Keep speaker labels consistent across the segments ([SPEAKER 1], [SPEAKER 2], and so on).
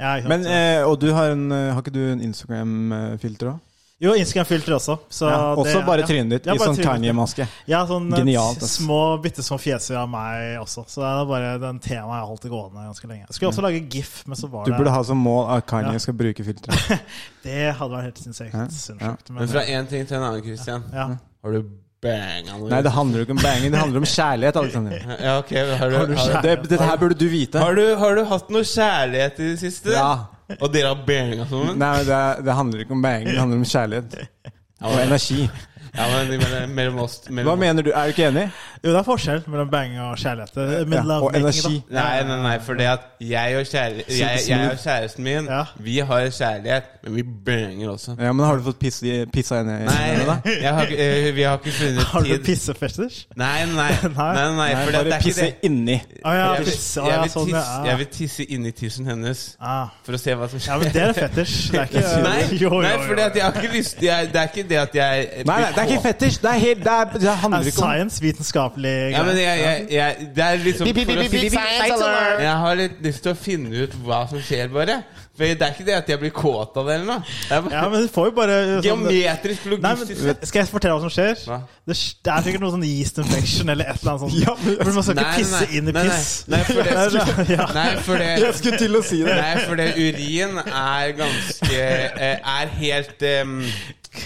[SPEAKER 1] Ja, ikke sant?
[SPEAKER 2] Men, eh, og du har en eh, Har ikke du en Instagram-filter òg?
[SPEAKER 1] jo, Instagram-filter også. Så
[SPEAKER 2] Ja,
[SPEAKER 1] det-
[SPEAKER 2] også bare
[SPEAKER 1] ja.
[SPEAKER 2] trynet ditt
[SPEAKER 1] Ja,
[SPEAKER 2] i
[SPEAKER 1] bare
[SPEAKER 2] sånn
[SPEAKER 1] trynet mitt.
[SPEAKER 2] Kanye-maske.
[SPEAKER 1] Ja, sånn eh,
[SPEAKER 2] Genialt, altså. ass.
[SPEAKER 1] små, bitte små fjeser av meg også. Så det er bare den temaet jeg holdt det gående ganske lenge. Jeg skulle også lage GIF, men så var
[SPEAKER 2] Mm. Du burde
[SPEAKER 1] det
[SPEAKER 2] ha som mål at Kanye
[SPEAKER 1] Ja.
[SPEAKER 2] skal bruke filteret.
[SPEAKER 1] Det hadde vært helt sinnssykt.
[SPEAKER 2] Ja,
[SPEAKER 1] sinnssykt, eh,
[SPEAKER 3] Men fra én ting til en annen, Christian.
[SPEAKER 1] ja.
[SPEAKER 3] Har du banga noe?
[SPEAKER 2] Nei, det handler jo ikke om banging, det handler om kjærlighet. Alexander.
[SPEAKER 3] Ja, ok. Har du, har, du,
[SPEAKER 2] Det, dette her burde du vite.
[SPEAKER 3] har, du, har du hatt noe kjærlighet i det siste?
[SPEAKER 2] Ja.
[SPEAKER 3] Og dere har banga sammen?
[SPEAKER 2] Nei, det, det handler ikke om banging, det handler om kjærlighet.
[SPEAKER 3] Ja,
[SPEAKER 2] Og
[SPEAKER 3] men,
[SPEAKER 2] energi.
[SPEAKER 3] ja, men jeg mener, mellom oss mellom
[SPEAKER 2] Hva mener du? Er du ikke enig?
[SPEAKER 1] Jo, det er forskjell mellom bang og kjærlighet. Eh,
[SPEAKER 2] Ja,
[SPEAKER 1] Men
[SPEAKER 2] og
[SPEAKER 1] lovemaking,
[SPEAKER 2] energi.
[SPEAKER 1] da.
[SPEAKER 3] Nei, nei, nei, for det at jeg og, kjære, jeg, jeg og kjæresten min,
[SPEAKER 1] Ja.
[SPEAKER 3] vi har kjærlighet, men vi banger også.
[SPEAKER 2] Ja, men har du fått pisse i- pissa inn i
[SPEAKER 3] Nei,
[SPEAKER 2] hendene, da?
[SPEAKER 3] jeg har, ikke- eh, vi har ikke
[SPEAKER 1] Har du
[SPEAKER 3] funnet tid.
[SPEAKER 1] pissefetisj?
[SPEAKER 3] Nei, nei, nei,
[SPEAKER 1] Nei.
[SPEAKER 3] nei, nei
[SPEAKER 2] Nei,
[SPEAKER 3] for det, det
[SPEAKER 2] bare
[SPEAKER 3] er ikke
[SPEAKER 2] pisse
[SPEAKER 3] det.
[SPEAKER 2] inni.
[SPEAKER 1] Å ja,
[SPEAKER 3] Jeg vil,
[SPEAKER 1] piss. Å,
[SPEAKER 3] jeg
[SPEAKER 1] ja,
[SPEAKER 3] vil,
[SPEAKER 1] sånn, ja.
[SPEAKER 3] tisse, jeg vil tisse inni tissen hennes
[SPEAKER 1] Ah.
[SPEAKER 3] for å se hva som
[SPEAKER 1] ja,
[SPEAKER 3] skjer.
[SPEAKER 1] men det er fetisj. Det er ikke
[SPEAKER 3] Nei,
[SPEAKER 1] jo, jo,
[SPEAKER 3] nei
[SPEAKER 1] jo.
[SPEAKER 3] for det, at jeg har ikke lyst jeg, Det er ikke det at jeg
[SPEAKER 2] Nei, nei, det er ikke fetisj! Det, er helt, det, er, det
[SPEAKER 1] Det
[SPEAKER 2] handler
[SPEAKER 1] er
[SPEAKER 2] ikke om
[SPEAKER 1] science, vitenskapelig
[SPEAKER 3] ja, men jeg, jeg, jeg, Det er liksom for å si- Jeg har litt lyst til å finne ut hva som skjer, bare. For Det er ikke det at jeg blir kåt av det eller noe. Det er
[SPEAKER 1] Ja,
[SPEAKER 3] bare
[SPEAKER 1] men du får jo bare sånn-
[SPEAKER 3] geometrisk
[SPEAKER 1] Nei, men,
[SPEAKER 3] logistisk
[SPEAKER 1] skal jeg fortelle hva som skjer?
[SPEAKER 3] Hva?
[SPEAKER 1] Det, det er sikkert noe sånn yeast infection eller et eller annet sånt. men man skal ikke pisse inn i
[SPEAKER 3] nei,
[SPEAKER 1] piss. sånn-
[SPEAKER 3] Nei, nei, for det,
[SPEAKER 1] ja.
[SPEAKER 3] nei, for det,
[SPEAKER 2] skulle til å si
[SPEAKER 3] nei, for det urin er ganske eh, Er helt em,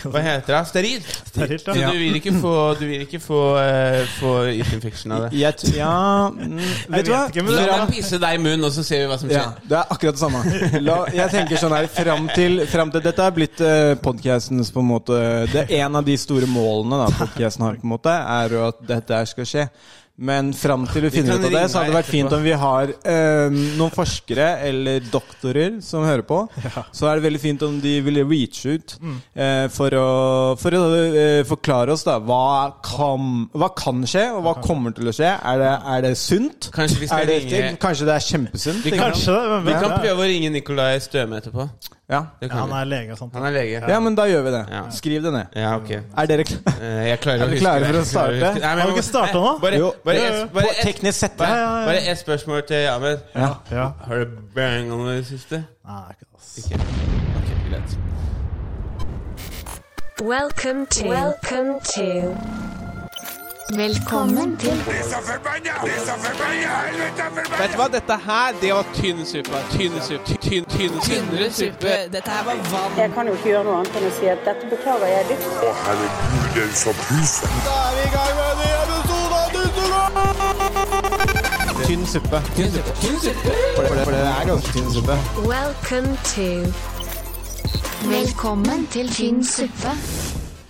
[SPEAKER 3] Hva heter det? Steril.
[SPEAKER 1] Sterilt,
[SPEAKER 3] Så
[SPEAKER 1] ja.
[SPEAKER 3] du vil ikke få Du vil ikke få, eh, få yeast infection av det.
[SPEAKER 2] Jeg, t- ja mm, Vet du hva?
[SPEAKER 1] vet ikke, men
[SPEAKER 3] La
[SPEAKER 1] det
[SPEAKER 2] Fram-
[SPEAKER 3] meg pisse deg i munnen, og så ser vi hva som
[SPEAKER 2] Ja,
[SPEAKER 3] skjer.
[SPEAKER 2] det er akkurat det samme. La, jeg tenker sånn her fram til, fram til Dette er blitt uh, podkastens på en måte Det er en av de store målene da podkasten har, på en måte er jo at dette her skal skje. Men fram til vi finner
[SPEAKER 3] kan
[SPEAKER 2] ut av det,
[SPEAKER 3] ringe
[SPEAKER 2] så hadde det vært
[SPEAKER 3] deg
[SPEAKER 2] fint om vi har eh, noen forskere eller doktorer som hører på. Så er det veldig fint om de vil reach ut
[SPEAKER 3] Mm.
[SPEAKER 2] eh, for å, for å eh, forklare oss da hva kan, hva kan skje, og hva kommer til å skje. Er det, er det sunt?
[SPEAKER 3] Kanskje vi skal
[SPEAKER 2] Er det,
[SPEAKER 3] ringe-
[SPEAKER 2] kanskje det er kjempesunt?
[SPEAKER 3] Vi kan-
[SPEAKER 1] Kanskje det. hvem
[SPEAKER 3] Vi
[SPEAKER 1] vet
[SPEAKER 3] kan
[SPEAKER 1] det?
[SPEAKER 3] prøve å ringe Nikolai Støme etterpå.
[SPEAKER 2] Ja.
[SPEAKER 3] Det
[SPEAKER 1] Ja, han
[SPEAKER 3] kan vi.
[SPEAKER 1] er lege og sånt.
[SPEAKER 3] Han er lege.
[SPEAKER 2] Ja, men da gjør vi det.
[SPEAKER 3] Ja.
[SPEAKER 2] Skriv det ned.
[SPEAKER 3] Ja, ok.
[SPEAKER 2] Er dere klare?
[SPEAKER 3] Eh, Jeg klarer å
[SPEAKER 2] Er vi
[SPEAKER 3] huske
[SPEAKER 2] klare
[SPEAKER 3] det.
[SPEAKER 2] for å
[SPEAKER 3] Jeg klarer
[SPEAKER 2] starte?
[SPEAKER 3] huske det. Nei, men
[SPEAKER 1] Har vi
[SPEAKER 3] jeg må-
[SPEAKER 1] ikke startet nå?
[SPEAKER 3] Nei, Bare,
[SPEAKER 2] Jo.
[SPEAKER 3] bare,
[SPEAKER 1] Jo, jo,
[SPEAKER 3] et-
[SPEAKER 1] jo.
[SPEAKER 3] bare,
[SPEAKER 2] På
[SPEAKER 3] et-
[SPEAKER 2] teknisk sett.
[SPEAKER 3] bare,
[SPEAKER 1] Ja, ja, ja.
[SPEAKER 3] bare ett spørsmål til Ahmed.
[SPEAKER 2] Ja.
[SPEAKER 1] Ja.
[SPEAKER 3] Har du bang on det siste?
[SPEAKER 1] Nei, det er ikke det, ass.
[SPEAKER 3] Ikke. Ok, greit.
[SPEAKER 4] Welcome to. Welcome to. Velkommen til
[SPEAKER 5] Vet
[SPEAKER 6] Vet du hva, dette her, det var tynn suppe. Tynn suppe. Tynn, tynn, tynnere suppe.
[SPEAKER 7] Dette her var vann.
[SPEAKER 8] Jeg kan jo ikke gjøre noe annet enn å si at dette beklager jeg dypt.
[SPEAKER 5] Å, herregud, den som puser.
[SPEAKER 2] Tynn suppe. For det, for det er ganske tynn suppe.
[SPEAKER 4] Welcome to. Velkommen til tynn suppe.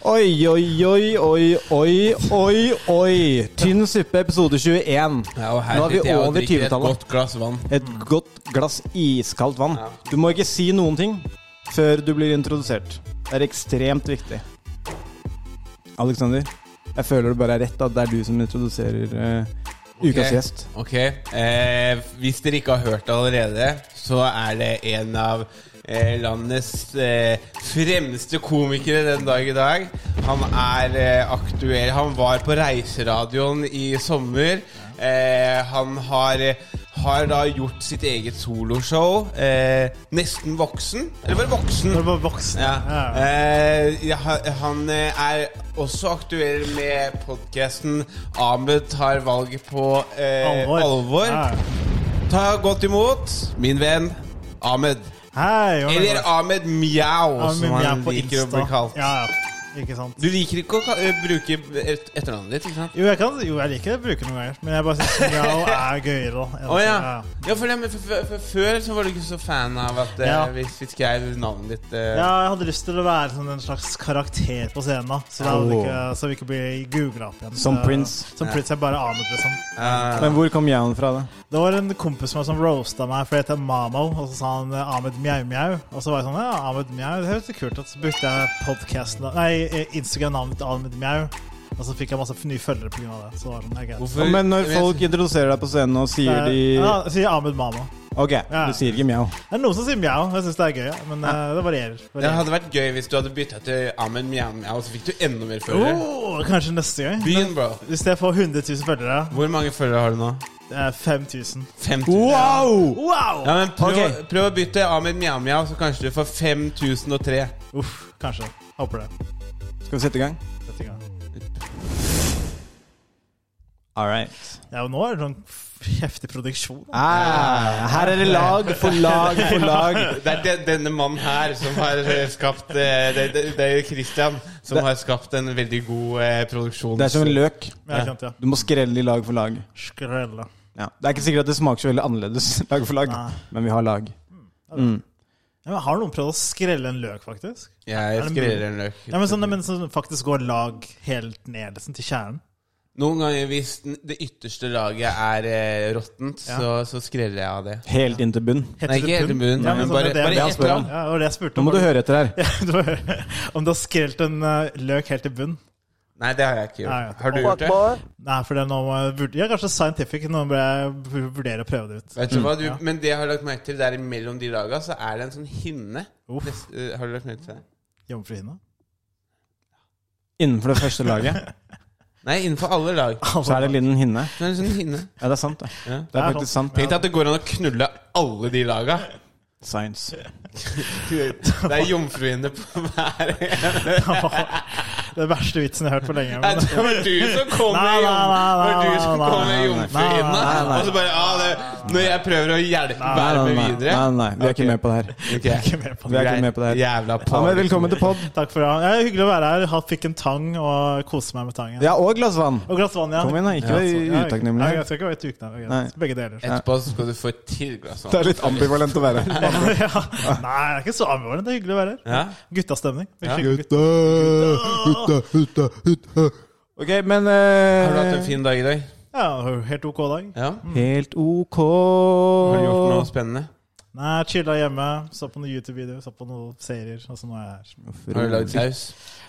[SPEAKER 2] Oi, oi, oi, oi, oi, oi, oi. Tynn suppe, episode 21.
[SPEAKER 3] Ja, og her
[SPEAKER 2] Nå er vi
[SPEAKER 3] sitter jeg og
[SPEAKER 2] over
[SPEAKER 3] drikker Et
[SPEAKER 2] 20-tallet.
[SPEAKER 3] godt glass vann.
[SPEAKER 2] Et godt glass iskaldt vann. Du må ikke si noen ting før du blir introdusert. Det er ekstremt viktig. Alexander, jeg føler det bare er rett at det er du som introduserer eh, ukas gjest.
[SPEAKER 3] Ok. Eh, hvis dere ikke har hørt det allerede, så er det en av eh, landets eh, fremste komikere den dag i dag. Han er eh, aktuell. Han var på Reiseradioen i sommer. Eh, han har har da gjort sitt eget soloshow. Eh, nesten voksen. Eller var det voksen?
[SPEAKER 1] Når du var voksen.
[SPEAKER 3] Ja.
[SPEAKER 1] Ja.
[SPEAKER 3] Eh, ja, ha- han eh, er også aktuell med podkasten 'Ahmed tar valget på eh, alvor'.
[SPEAKER 1] Ja.
[SPEAKER 3] Ta godt imot min venn Ahmed.
[SPEAKER 1] Hei, hvordan går
[SPEAKER 3] Eller
[SPEAKER 1] det?
[SPEAKER 3] Ahmed Mjau,
[SPEAKER 1] Ja,
[SPEAKER 3] som
[SPEAKER 1] men vi er
[SPEAKER 3] han
[SPEAKER 1] på
[SPEAKER 3] liker å
[SPEAKER 1] Insta.
[SPEAKER 3] bli kalt.
[SPEAKER 1] Ja, ja. Ikke sant.
[SPEAKER 3] Du liker ikke å ka- eh, bruke et etternavnet ditt, ikke sant?
[SPEAKER 1] Jo, jeg, kan, jo, jeg liker å bruke det noen ganger, men jeg bare syns mjau er gøyere. da.
[SPEAKER 3] Å ja. ja, for, det, men for, for, for før så var du ikke så fan av at eh,
[SPEAKER 1] Ja.
[SPEAKER 3] hvis vi skrev navnet ditt eh,
[SPEAKER 1] Ja, jeg hadde lyst til å være sånn en slags karakter på scenen. da Så, da hadde
[SPEAKER 2] Oh.
[SPEAKER 1] ikke, så vi ikke blir googla opp igjen.
[SPEAKER 2] Som
[SPEAKER 1] Så-
[SPEAKER 2] Prince.
[SPEAKER 1] Som Prince, jeg bare anet liksom
[SPEAKER 3] eh,
[SPEAKER 2] Men hvor kom jeg fra det?
[SPEAKER 1] Det var en kompis med meg som roasta meg for jeg heter Mamo, og så sa han eh, Ahmed Mjau Mjau. Og så var jeg sånn, ja, Ahmed Mjau, det høres jo kult ut. Så brukte jeg podcasten, nei, eh, Instagram-navnet til Ahmed Mjau, og så fikk jeg masse nye følgere på grunn av det. Så det var sånn, jeg greit.
[SPEAKER 3] hvorfor-
[SPEAKER 2] Men når
[SPEAKER 3] jeg vet-
[SPEAKER 2] folk introduserer deg på scenen og
[SPEAKER 1] Det
[SPEAKER 2] sier
[SPEAKER 1] er-
[SPEAKER 2] de
[SPEAKER 1] Ja, sier Ahmed Mamo.
[SPEAKER 2] Ok, du sier ikke mjau.
[SPEAKER 1] Det er noen som sier mjau, jeg syns det er gøy, ja, men eh, det varierer.
[SPEAKER 3] Det
[SPEAKER 1] varierer.
[SPEAKER 3] hadde vært gøy hvis du hadde bytta til Amen Mjau Mjau, så fikk du enda mer følgere.
[SPEAKER 1] Oh, kanskje neste gang.
[SPEAKER 3] Begynn, bro.
[SPEAKER 1] Hvis jeg får 100 000 følgere
[SPEAKER 3] Hvor mange følgere har du nå?
[SPEAKER 1] eh, Det er 5000.
[SPEAKER 3] 5000.
[SPEAKER 2] Wow!
[SPEAKER 1] Wow!
[SPEAKER 3] Ja, men prøv,
[SPEAKER 2] Ok.
[SPEAKER 3] prøv å bytte Ahmed Mjau Mjau, så kanskje du får 5003.
[SPEAKER 1] Uff, kanskje. Håper det.
[SPEAKER 2] Skal vi sette i gang?
[SPEAKER 1] Dette gang.
[SPEAKER 2] All right.
[SPEAKER 1] Ja, og nå er det sånn heftig produksjon.
[SPEAKER 2] Ah, her er det lag for lag for lag.
[SPEAKER 3] Det er den, denne mannen her som har eh, skapt eh, Det, det, det er Christian som har skapt en veldig god eh, produksjon.
[SPEAKER 2] Det er som en løk.
[SPEAKER 1] Men jeg kjente, ja.
[SPEAKER 2] Du må skrelle i lag for lag.
[SPEAKER 1] Skrelle.
[SPEAKER 2] Ja. Det er ikke sikkert at det smaker så veldig annerledes lag for lag,
[SPEAKER 1] Nei.
[SPEAKER 2] men vi har lag.
[SPEAKER 1] Ja, men har noen prøvd å skrelle en løk, faktisk?
[SPEAKER 3] Jeg
[SPEAKER 1] Er det
[SPEAKER 3] skreller en løk.
[SPEAKER 1] Ja, men sånn, men sånn faktisk går lag helt ned liksom, til kjernen.
[SPEAKER 3] Noen ganger hvis den- det ytterste laget er eh, råttent, så, så skreller jeg av det.
[SPEAKER 2] Helt inn til bunn.
[SPEAKER 1] Heter
[SPEAKER 3] Nei,
[SPEAKER 1] det
[SPEAKER 3] ikke helt i
[SPEAKER 1] bunn?
[SPEAKER 3] bunnen,
[SPEAKER 1] Ja,
[SPEAKER 3] men
[SPEAKER 1] sånn, det
[SPEAKER 3] bare,
[SPEAKER 1] er det
[SPEAKER 3] bare
[SPEAKER 1] jeg
[SPEAKER 3] etter
[SPEAKER 1] spør om.
[SPEAKER 3] ham.
[SPEAKER 1] Ja, det var det jeg spurte
[SPEAKER 2] Nå
[SPEAKER 1] om.
[SPEAKER 2] må du høre etter her.
[SPEAKER 1] Du må- om du har skrelt en eh, løk helt til bunn.
[SPEAKER 3] Nei, det har jeg ikke
[SPEAKER 1] Nei, ja.
[SPEAKER 3] gjort. Har du gjort det?
[SPEAKER 1] Nei, for det er noe med vurd- Ja, kanskje scientific. Nå bør jeg v- vurdere å prøve det ut.
[SPEAKER 3] Vet du hva du, Men det jeg har lagt merke til, der imellom de laga, så er det en sånn hinne.
[SPEAKER 1] Uff.
[SPEAKER 3] Nest, eh, har du lagt merke til det?
[SPEAKER 1] Jomfruhinne?
[SPEAKER 2] Innenfor det første laget
[SPEAKER 3] Nei, innenfor alle lag.
[SPEAKER 2] så er det en liten hinne.
[SPEAKER 3] Så er det en sånn hinne.
[SPEAKER 2] Ja, det er sant, det.
[SPEAKER 3] Ja.
[SPEAKER 2] Det er faktisk sant.
[SPEAKER 3] Tenk deg at det går an å knulle alle de laga.
[SPEAKER 2] Science.
[SPEAKER 3] Det er jomfruhinne på hver en.
[SPEAKER 1] Det er verste vitsen jeg har hørt på lenge.
[SPEAKER 3] Nei,
[SPEAKER 1] Men,
[SPEAKER 3] Det var du som kom med
[SPEAKER 1] Nei, nei,
[SPEAKER 3] jom-
[SPEAKER 1] nei,
[SPEAKER 3] det var du som
[SPEAKER 1] nei,
[SPEAKER 3] kom
[SPEAKER 1] nei,
[SPEAKER 3] med
[SPEAKER 1] nei,
[SPEAKER 3] jomfruhinna.
[SPEAKER 1] nei, nei, nei.
[SPEAKER 3] Og så bare ah, det, Når jeg prøver å hjelpe
[SPEAKER 2] Nei, nei,
[SPEAKER 3] være med
[SPEAKER 2] nei,
[SPEAKER 3] videre
[SPEAKER 2] nei, nei, vi er ikke
[SPEAKER 3] Ok.
[SPEAKER 2] med på det her.
[SPEAKER 3] Ok.
[SPEAKER 1] ikke mer på
[SPEAKER 2] Vi er ikke med på det her.
[SPEAKER 3] Jævla
[SPEAKER 2] Ja,
[SPEAKER 3] par.
[SPEAKER 2] men velkommen til pod.
[SPEAKER 1] Takk for det. Ja, hyggelig å være her. Ha- Fikk en tang og kose meg med tangen.
[SPEAKER 2] Ja, og glass vann.
[SPEAKER 1] Og glass vann, ja.
[SPEAKER 2] Kom igjen, da. Ikke vær
[SPEAKER 1] Ja,
[SPEAKER 2] utakknemlig.
[SPEAKER 1] Ja, jeg skal ikke være utakknemlig.
[SPEAKER 2] Nei.
[SPEAKER 1] greit. Begge deler.
[SPEAKER 3] Etterpå så skal du få et til glass
[SPEAKER 2] Det
[SPEAKER 3] vann.
[SPEAKER 2] er litt ambivalent å være.
[SPEAKER 1] Ja. Nei, det er ikke så avgjørende. Det er hyggelig å være her.
[SPEAKER 3] Ja?
[SPEAKER 1] Guttastemning. Det er
[SPEAKER 3] Ja.
[SPEAKER 1] skikkelig gutt-
[SPEAKER 2] Ok, men eh,
[SPEAKER 3] Har du hatt en fin dag i dag?
[SPEAKER 1] Ja, helt ok dag.
[SPEAKER 3] Ja?
[SPEAKER 2] Helt ok.
[SPEAKER 3] Har du gjort noe spennende?
[SPEAKER 1] Nei, chilla hjemme, så på noen YouTube-videoer, så på noen serier. Og så nå er jeg her.
[SPEAKER 3] Har du lagd saus?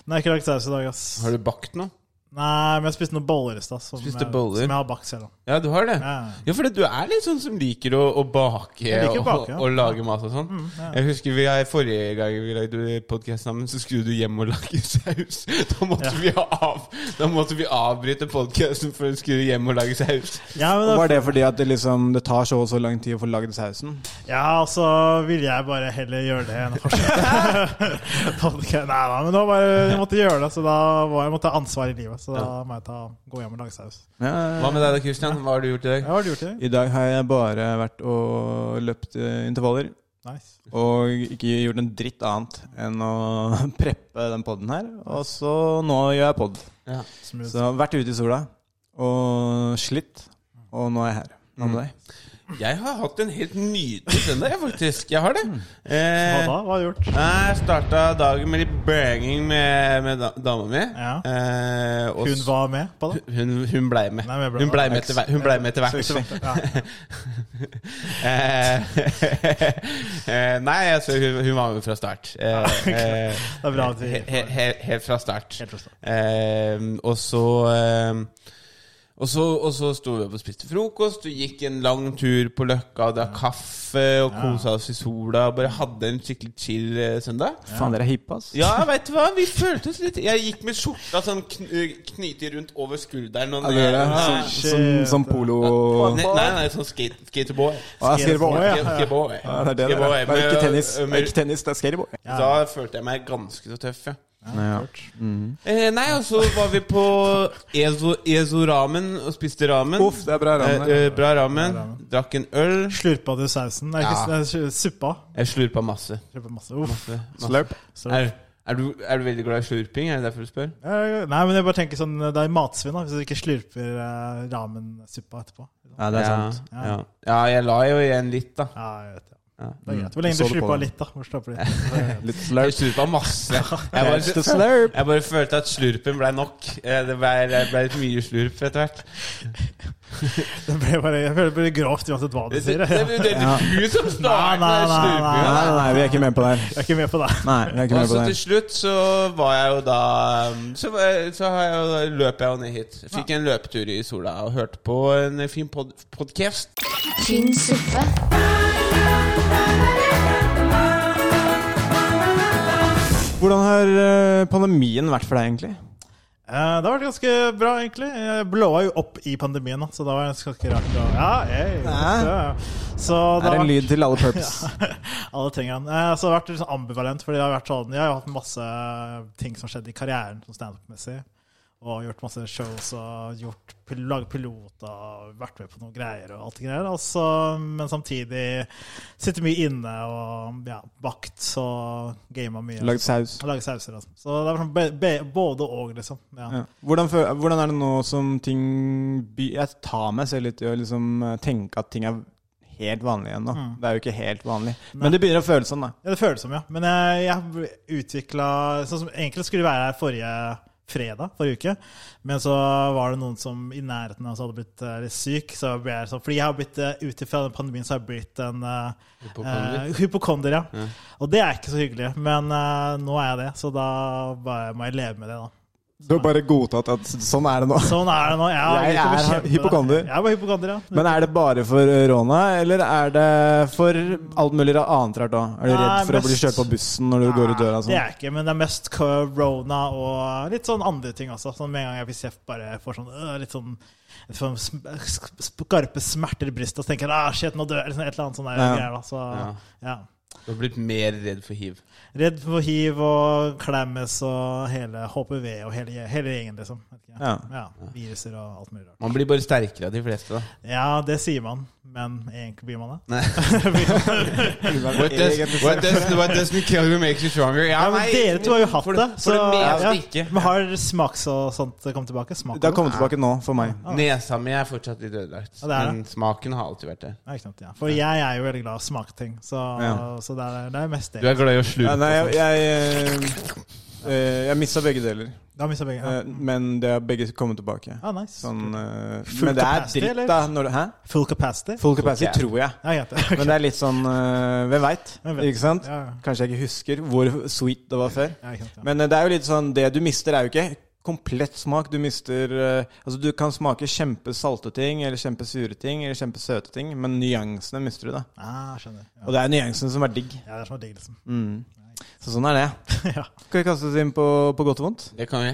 [SPEAKER 1] Nei, ikke lagd saus i dag, ass.
[SPEAKER 3] Har du bakt noe?
[SPEAKER 1] Nei, men jeg spiste noen boller i stad. Som,
[SPEAKER 3] Spiste
[SPEAKER 1] jeg-
[SPEAKER 3] boller?
[SPEAKER 1] som jeg har bakt selv. da.
[SPEAKER 3] Ja, du har det?
[SPEAKER 1] Ja.
[SPEAKER 3] Ja, for du er litt sånn som liker å, å bake,
[SPEAKER 1] liker å
[SPEAKER 3] og,
[SPEAKER 1] bake, ja. Mm,
[SPEAKER 3] og lage mat og sånn. Jeg husker vi, Forrige gang vi lagde podkast sammen, så skulle du hjem og lage saus. Da måtte, vi, av, da måtte vi avbryte podkasten for å skulle hjem og lage saus.
[SPEAKER 1] Ja, men da,
[SPEAKER 2] Var det fordi at det liksom Det tar så og så lang tid å få lagd sausen?
[SPEAKER 1] ja, og så ville jeg bare heller gjøre det enn å fortsette. Podcast- nei da, men da bare, jeg måtte gjøre det, så da var, jeg måtte ta ansvar i livet. Så da må jeg ta, gå hjem og lage saus.
[SPEAKER 2] Ja.
[SPEAKER 3] Hva med deg da, Christian? Hva har du gjort i
[SPEAKER 1] Ja,
[SPEAKER 3] dag?
[SPEAKER 1] hva har du gjort i dag?
[SPEAKER 2] I dag har jeg bare vært og løpt eh, intervaller.
[SPEAKER 1] Nice.
[SPEAKER 2] Og ikke gjort en dritt annet enn å preppe den poden her. Og så nå gjør jeg pod.
[SPEAKER 3] Ja.
[SPEAKER 1] Smooth.
[SPEAKER 2] Så jeg har vært ute i sola og slitt. Og nå er jeg her. Hva med deg?
[SPEAKER 3] Jeg har hatt en helt nydelig søndag, jeg, faktisk. Jeg har det.
[SPEAKER 1] Hva
[SPEAKER 3] Eh,
[SPEAKER 1] da? Mm. Hva har du gjort?
[SPEAKER 3] jeg starta dagen med litt banging med, med da, dama mi.
[SPEAKER 1] Ja.
[SPEAKER 3] Eh, og
[SPEAKER 1] Hun var med på det?
[SPEAKER 3] Hun, hun blei med.
[SPEAKER 1] Nei, men jeg ble-
[SPEAKER 3] hun blei med etter hvert. Hun ble med etter hvert.
[SPEAKER 1] Ja.
[SPEAKER 3] Eh, eh, Nei, altså, hun, hun var med fra start. Eh, eh,
[SPEAKER 1] Det er bra at vi
[SPEAKER 3] he- he- he- Helt fra start.
[SPEAKER 1] Helt fra start.
[SPEAKER 3] Eh, Og så eh, og så, og så sto vi opp og spiste frokost, og gikk en lang tur på Løkka og drakk kaffe og kosa oss i sola. Og bare hadde en skikkelig chill eh, søndag.
[SPEAKER 2] Faen, dere er hippe, ass.
[SPEAKER 3] Ja, veit du hva? Vi følte oss litt Jeg gikk med skjorta sånn kn knytig rundt over skulderen. Og
[SPEAKER 2] Ja, det er det.
[SPEAKER 3] Nei,
[SPEAKER 2] Sånn, sånn, sånn polo
[SPEAKER 3] nei, nei, nei, sånn skate, skateboy.
[SPEAKER 2] Å, jeg skriver på
[SPEAKER 1] Å, ja.
[SPEAKER 2] ordentlig.
[SPEAKER 3] Skateboy.
[SPEAKER 2] Ja, det er det det er.
[SPEAKER 3] Skateboy.
[SPEAKER 2] Det er ikke tennis,
[SPEAKER 3] Men-
[SPEAKER 2] det er, ikke tennis, det er skateboard.
[SPEAKER 3] men Da følte jeg meg ganske så tøff, ja.
[SPEAKER 2] Ja.
[SPEAKER 3] Eh, nei, og så var vi på Ezo, Ezo Ramen og spiste ramen.
[SPEAKER 2] Uff, det er bra ramen.
[SPEAKER 3] Eh, eh, bra ramen. Drakk en øl.
[SPEAKER 1] Slurpa du sausen? Nei, ikke,
[SPEAKER 3] Ja.
[SPEAKER 1] nei, suppa?
[SPEAKER 3] Jeg slurpa masse.
[SPEAKER 1] Slurpa masse. Uff.
[SPEAKER 3] masse.
[SPEAKER 2] Slurp.
[SPEAKER 1] Sorry.
[SPEAKER 3] Er, er, du, er du veldig glad i slurping? Er det derfor du spør?
[SPEAKER 1] Eh, Nei, men jeg bare tenker sånn Det er matsvinn da hvis du ikke slurper eh, ramen-suppa etterpå.
[SPEAKER 2] Ja, det er sant.
[SPEAKER 3] Ja, ja. ja jeg la jo igjen litt, da.
[SPEAKER 1] Ja, jeg vet det.
[SPEAKER 3] Ja.
[SPEAKER 1] Det er greit. Hvor lenge
[SPEAKER 2] Så
[SPEAKER 1] du
[SPEAKER 2] det på
[SPEAKER 1] slurpa
[SPEAKER 2] den.
[SPEAKER 1] litt, da. Hvor slurper du litt?
[SPEAKER 2] Litt
[SPEAKER 3] Jeg
[SPEAKER 2] slurp.
[SPEAKER 3] slurpa masse. Jeg
[SPEAKER 2] Catch the
[SPEAKER 3] bare,
[SPEAKER 2] slurp.
[SPEAKER 3] jeg bare følte at slurpen blei nok. Eh, Det blei det blei litt mye slurp etter hvert.
[SPEAKER 1] Det ble bare, jeg føler det blir grovt uansett hva du
[SPEAKER 3] Det, det,
[SPEAKER 1] sier.
[SPEAKER 3] det,
[SPEAKER 1] Jeg
[SPEAKER 3] det, det er du som starter
[SPEAKER 1] Nei, nei, nei,
[SPEAKER 2] Nei,
[SPEAKER 3] slurpinga.
[SPEAKER 2] nei, nei, vi er ikke med på det her.
[SPEAKER 1] er ikke med på det.
[SPEAKER 2] Nei, vi er ikke
[SPEAKER 3] Og
[SPEAKER 2] med på det
[SPEAKER 3] så Altså, til
[SPEAKER 2] her.
[SPEAKER 3] slutt så var jeg jo da um, Så, var jeg- så har jeg jo, da- løp jeg jo ned hit. Fikk en løpetur i sola og hørte på en fin pod podkast.
[SPEAKER 4] Tynn suppe.
[SPEAKER 2] Hvordan har eh, pandemien vært for deg, egentlig?
[SPEAKER 1] Eh, Det har vært ganske bra, egentlig. Jeg blåa jo opp i pandemien, da, så da var det ganske rart. å- Ja, hey,
[SPEAKER 2] Hæ?
[SPEAKER 1] Så det
[SPEAKER 2] Er
[SPEAKER 1] har
[SPEAKER 2] en
[SPEAKER 1] vært
[SPEAKER 2] lyd til alle purpose.
[SPEAKER 1] alle tingene. Eh, Så det har vært litt sånn ambivalent, fordi det har vært sånn, jeg har hatt masse ting som skjedde i karrieren sånn standup-messig. Og gjort masse shows og gjort, pil- laget piloter og vært med på noen greier. og alt det greier. Altså, men samtidig sitter mye inne og ja, bakt og gama mye.
[SPEAKER 2] Lagd saus.
[SPEAKER 1] Og laget sauser. Altså. Så det er sånn be, be, både og, liksom. Ja.
[SPEAKER 2] Ja. Hvordan, fø- hvordan er det nå som ting by Jeg tar meg selv litt i å liksom eh, tenke at ting er helt vanlig igjen nå. Det er jo ikke helt vanlig. Men det begynner å føles sånn, da.
[SPEAKER 1] Ja, det føles som, ja. Men jeg, jeg utvikla Sånn som egentlig skulle være her forrige fredag, forrige uke. Men så var det noen som i nærheten av oss hadde blitt eh, litt syk. Så ble jeg sånn, fordi jeg har blitt, eh, ut ifra den pandemien, så har jeg blitt en eh,
[SPEAKER 3] Hypokonder.
[SPEAKER 1] eh, hypokonder. ja. Og det er ikke så hyggelig. Men eh, nå er jeg det, så da bare må jeg leve med det, da.
[SPEAKER 2] Du har bare godtatt at sånn er det nå.
[SPEAKER 1] Sånn er det nå. Jeg,
[SPEAKER 2] Jeg
[SPEAKER 1] har-
[SPEAKER 2] er
[SPEAKER 1] kjempe-
[SPEAKER 2] hypokonder.
[SPEAKER 1] Jeg er bare hypokonder, ja.
[SPEAKER 2] Men er det bare for eh, Rona, eller er det for alt mulig annet rart òg? Er du
[SPEAKER 1] Nei,
[SPEAKER 2] redd for å bli
[SPEAKER 1] mest-
[SPEAKER 2] kjørt på bussen når du går ut døra? og
[SPEAKER 1] Det
[SPEAKER 2] Sånn?
[SPEAKER 1] er ikke, men det er mest corona og litt sånn andre ting også. Sånn med en gang jeg blir kjeft, bare får sånn øh, litt sånn jeg får sm- sk- skarpe smerter i brystet og så tenker jeg, ah, shit, nå dør jeg. Eller sånn et eller annet sånn der
[SPEAKER 2] Ja.
[SPEAKER 1] greier. Da. Så ja.
[SPEAKER 3] Du har blitt mer redd for hiv.
[SPEAKER 1] Redd for hiv og klemmes og hele HPV og hele, hele gjengen, liksom. Vet ikke.
[SPEAKER 2] Ja.
[SPEAKER 1] Ja, viruser og alt mulig rart.
[SPEAKER 3] Man blir bare sterkere av de fleste, da.
[SPEAKER 1] Ja, det sier man, men egentlig blir man det.
[SPEAKER 3] Nei. what, does, what, does, what doesn't kill you makes you stronger. Ja,
[SPEAKER 1] Ja, men
[SPEAKER 3] nei,
[SPEAKER 1] dere to har jo hatt
[SPEAKER 3] for,
[SPEAKER 1] det.
[SPEAKER 3] For det meste
[SPEAKER 1] ja.
[SPEAKER 3] ikke.
[SPEAKER 1] Men har smaks og sånt kommet tilbake? Smak
[SPEAKER 2] Det har kommet tilbake nå for meg.
[SPEAKER 3] Nesa mi er fortsatt litt ødelagt,
[SPEAKER 1] Ja, det er det.
[SPEAKER 3] men smaken har alltid vært der.
[SPEAKER 1] Ja, ikke sant, ja. For jeg er jo veldig glad i å smake ting, så,
[SPEAKER 2] Ja.
[SPEAKER 1] så det, er, det er mest
[SPEAKER 3] Du
[SPEAKER 1] det.
[SPEAKER 3] er glad i å
[SPEAKER 2] Ja,
[SPEAKER 3] slurpe.
[SPEAKER 2] nei,
[SPEAKER 1] sånn.
[SPEAKER 2] jeg jeg, eh, eh, jeg mista begge deler,
[SPEAKER 1] Da mister jeg begge.
[SPEAKER 2] eh, men det har begge kommet tilbake.
[SPEAKER 1] Ja, ah, nice.
[SPEAKER 2] Sånn, eh,
[SPEAKER 1] Full
[SPEAKER 2] men det er
[SPEAKER 1] capacity,
[SPEAKER 2] dritt,
[SPEAKER 1] eller?
[SPEAKER 2] da. Når, du- hæ?
[SPEAKER 1] Full capacity?
[SPEAKER 2] Full capacity,
[SPEAKER 3] capacity.
[SPEAKER 2] tror jeg.
[SPEAKER 1] Ja, greit.
[SPEAKER 2] Men det er litt sånn øh, Hvem veit?
[SPEAKER 1] Hvem vet?
[SPEAKER 2] Ikke sant?
[SPEAKER 1] Ja, ja.
[SPEAKER 2] Kanskje jeg ikke husker hvor sweet det var før.
[SPEAKER 1] Ja, ikke sant, ja.
[SPEAKER 2] Men øh, det er jo litt sånn Det du mister, er jo ikke komplett smak. Du mister øh, Altså, du kan smake kjempesalte ting, eller kjempesure ting, eller kjempesøte ting, men nyansene mister du, da.
[SPEAKER 1] Ah, skjønner. Ja.
[SPEAKER 2] Og det er nyansene som er digg.
[SPEAKER 1] ja, det er sånn digg, liksom.
[SPEAKER 2] Så sånn er det.
[SPEAKER 1] ja.
[SPEAKER 2] Skal vi kaste oss inn på, på godt og vondt?
[SPEAKER 3] Det kan vi.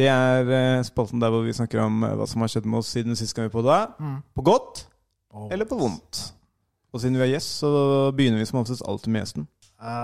[SPEAKER 2] Det er øh, spalten der hvor vi snakker om øh, hva som har skjedd med oss siden sist gang vi podda.
[SPEAKER 1] Mm.
[SPEAKER 2] På godt
[SPEAKER 1] Og-
[SPEAKER 2] eller på vondt. Og siden vi er gjest, så begynner vi som oftest alltid med gjesten.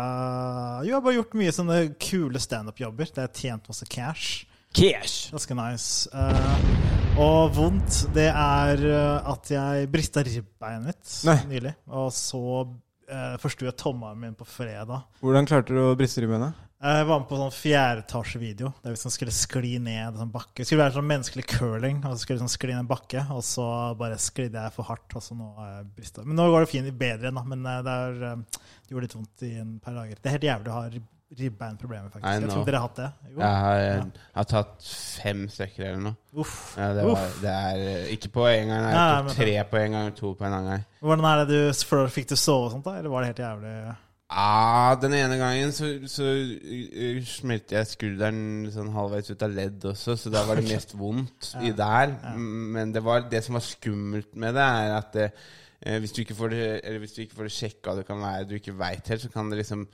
[SPEAKER 1] Eh, jo, jeg har bare gjort mye sånne kule standup-jobber. Det er tjent masse cash.
[SPEAKER 2] Cash!
[SPEAKER 1] Ganske nice. Eh, og vondt, det er eh, at jeg brista ribbeinet mitt
[SPEAKER 2] Nei.
[SPEAKER 1] nylig. Og så uh, forstuer jeg tommelen min på fredag.
[SPEAKER 2] Hvordan klarte du å briste ribbeina?
[SPEAKER 1] Jeg var med på sånn fjerdeetasjevideo. Der vi sånn skulle skli ned en sånn bakke. Det skulle være sånn menneskelig curling. Og så skulle vi sånn skli ned en bakke, og så bare sklidde jeg for hardt. Og så nå har jeg brista. Men nå går det fint, bedre enn da. Men eh, det, er, eh, det gjorde litt vondt i en par dager. Det er helt jævlig å ha rib- ribbeinproblemer, faktisk.
[SPEAKER 3] I
[SPEAKER 1] Jeg
[SPEAKER 3] know.
[SPEAKER 1] tror dere har hatt det. Jo.
[SPEAKER 3] Jeg har, jeg har tatt fem stykker eller noe.
[SPEAKER 1] Uff.
[SPEAKER 3] Ja, det, var,
[SPEAKER 1] Uff.
[SPEAKER 3] det er eh, ikke på en gang. Jeg
[SPEAKER 1] Nei,
[SPEAKER 3] har
[SPEAKER 1] men-
[SPEAKER 3] tatt tre på en gang, to på en annen gang.
[SPEAKER 1] Hvordan er det du før du fikk du sove og sånt, da? Eller var det helt jævlig?
[SPEAKER 3] Ah, den ene gangen så, så uh, uh, smelte jeg skulderen sånn halvveis ut av ledd også, så da var det mest vondt i der. Mm, Men det, var, det som var skummelt med det, er at det, eh, hvis, du ikke får det, eller hvis du ikke får det sjekka, det kan være du ikke veit helt, så kan det liksom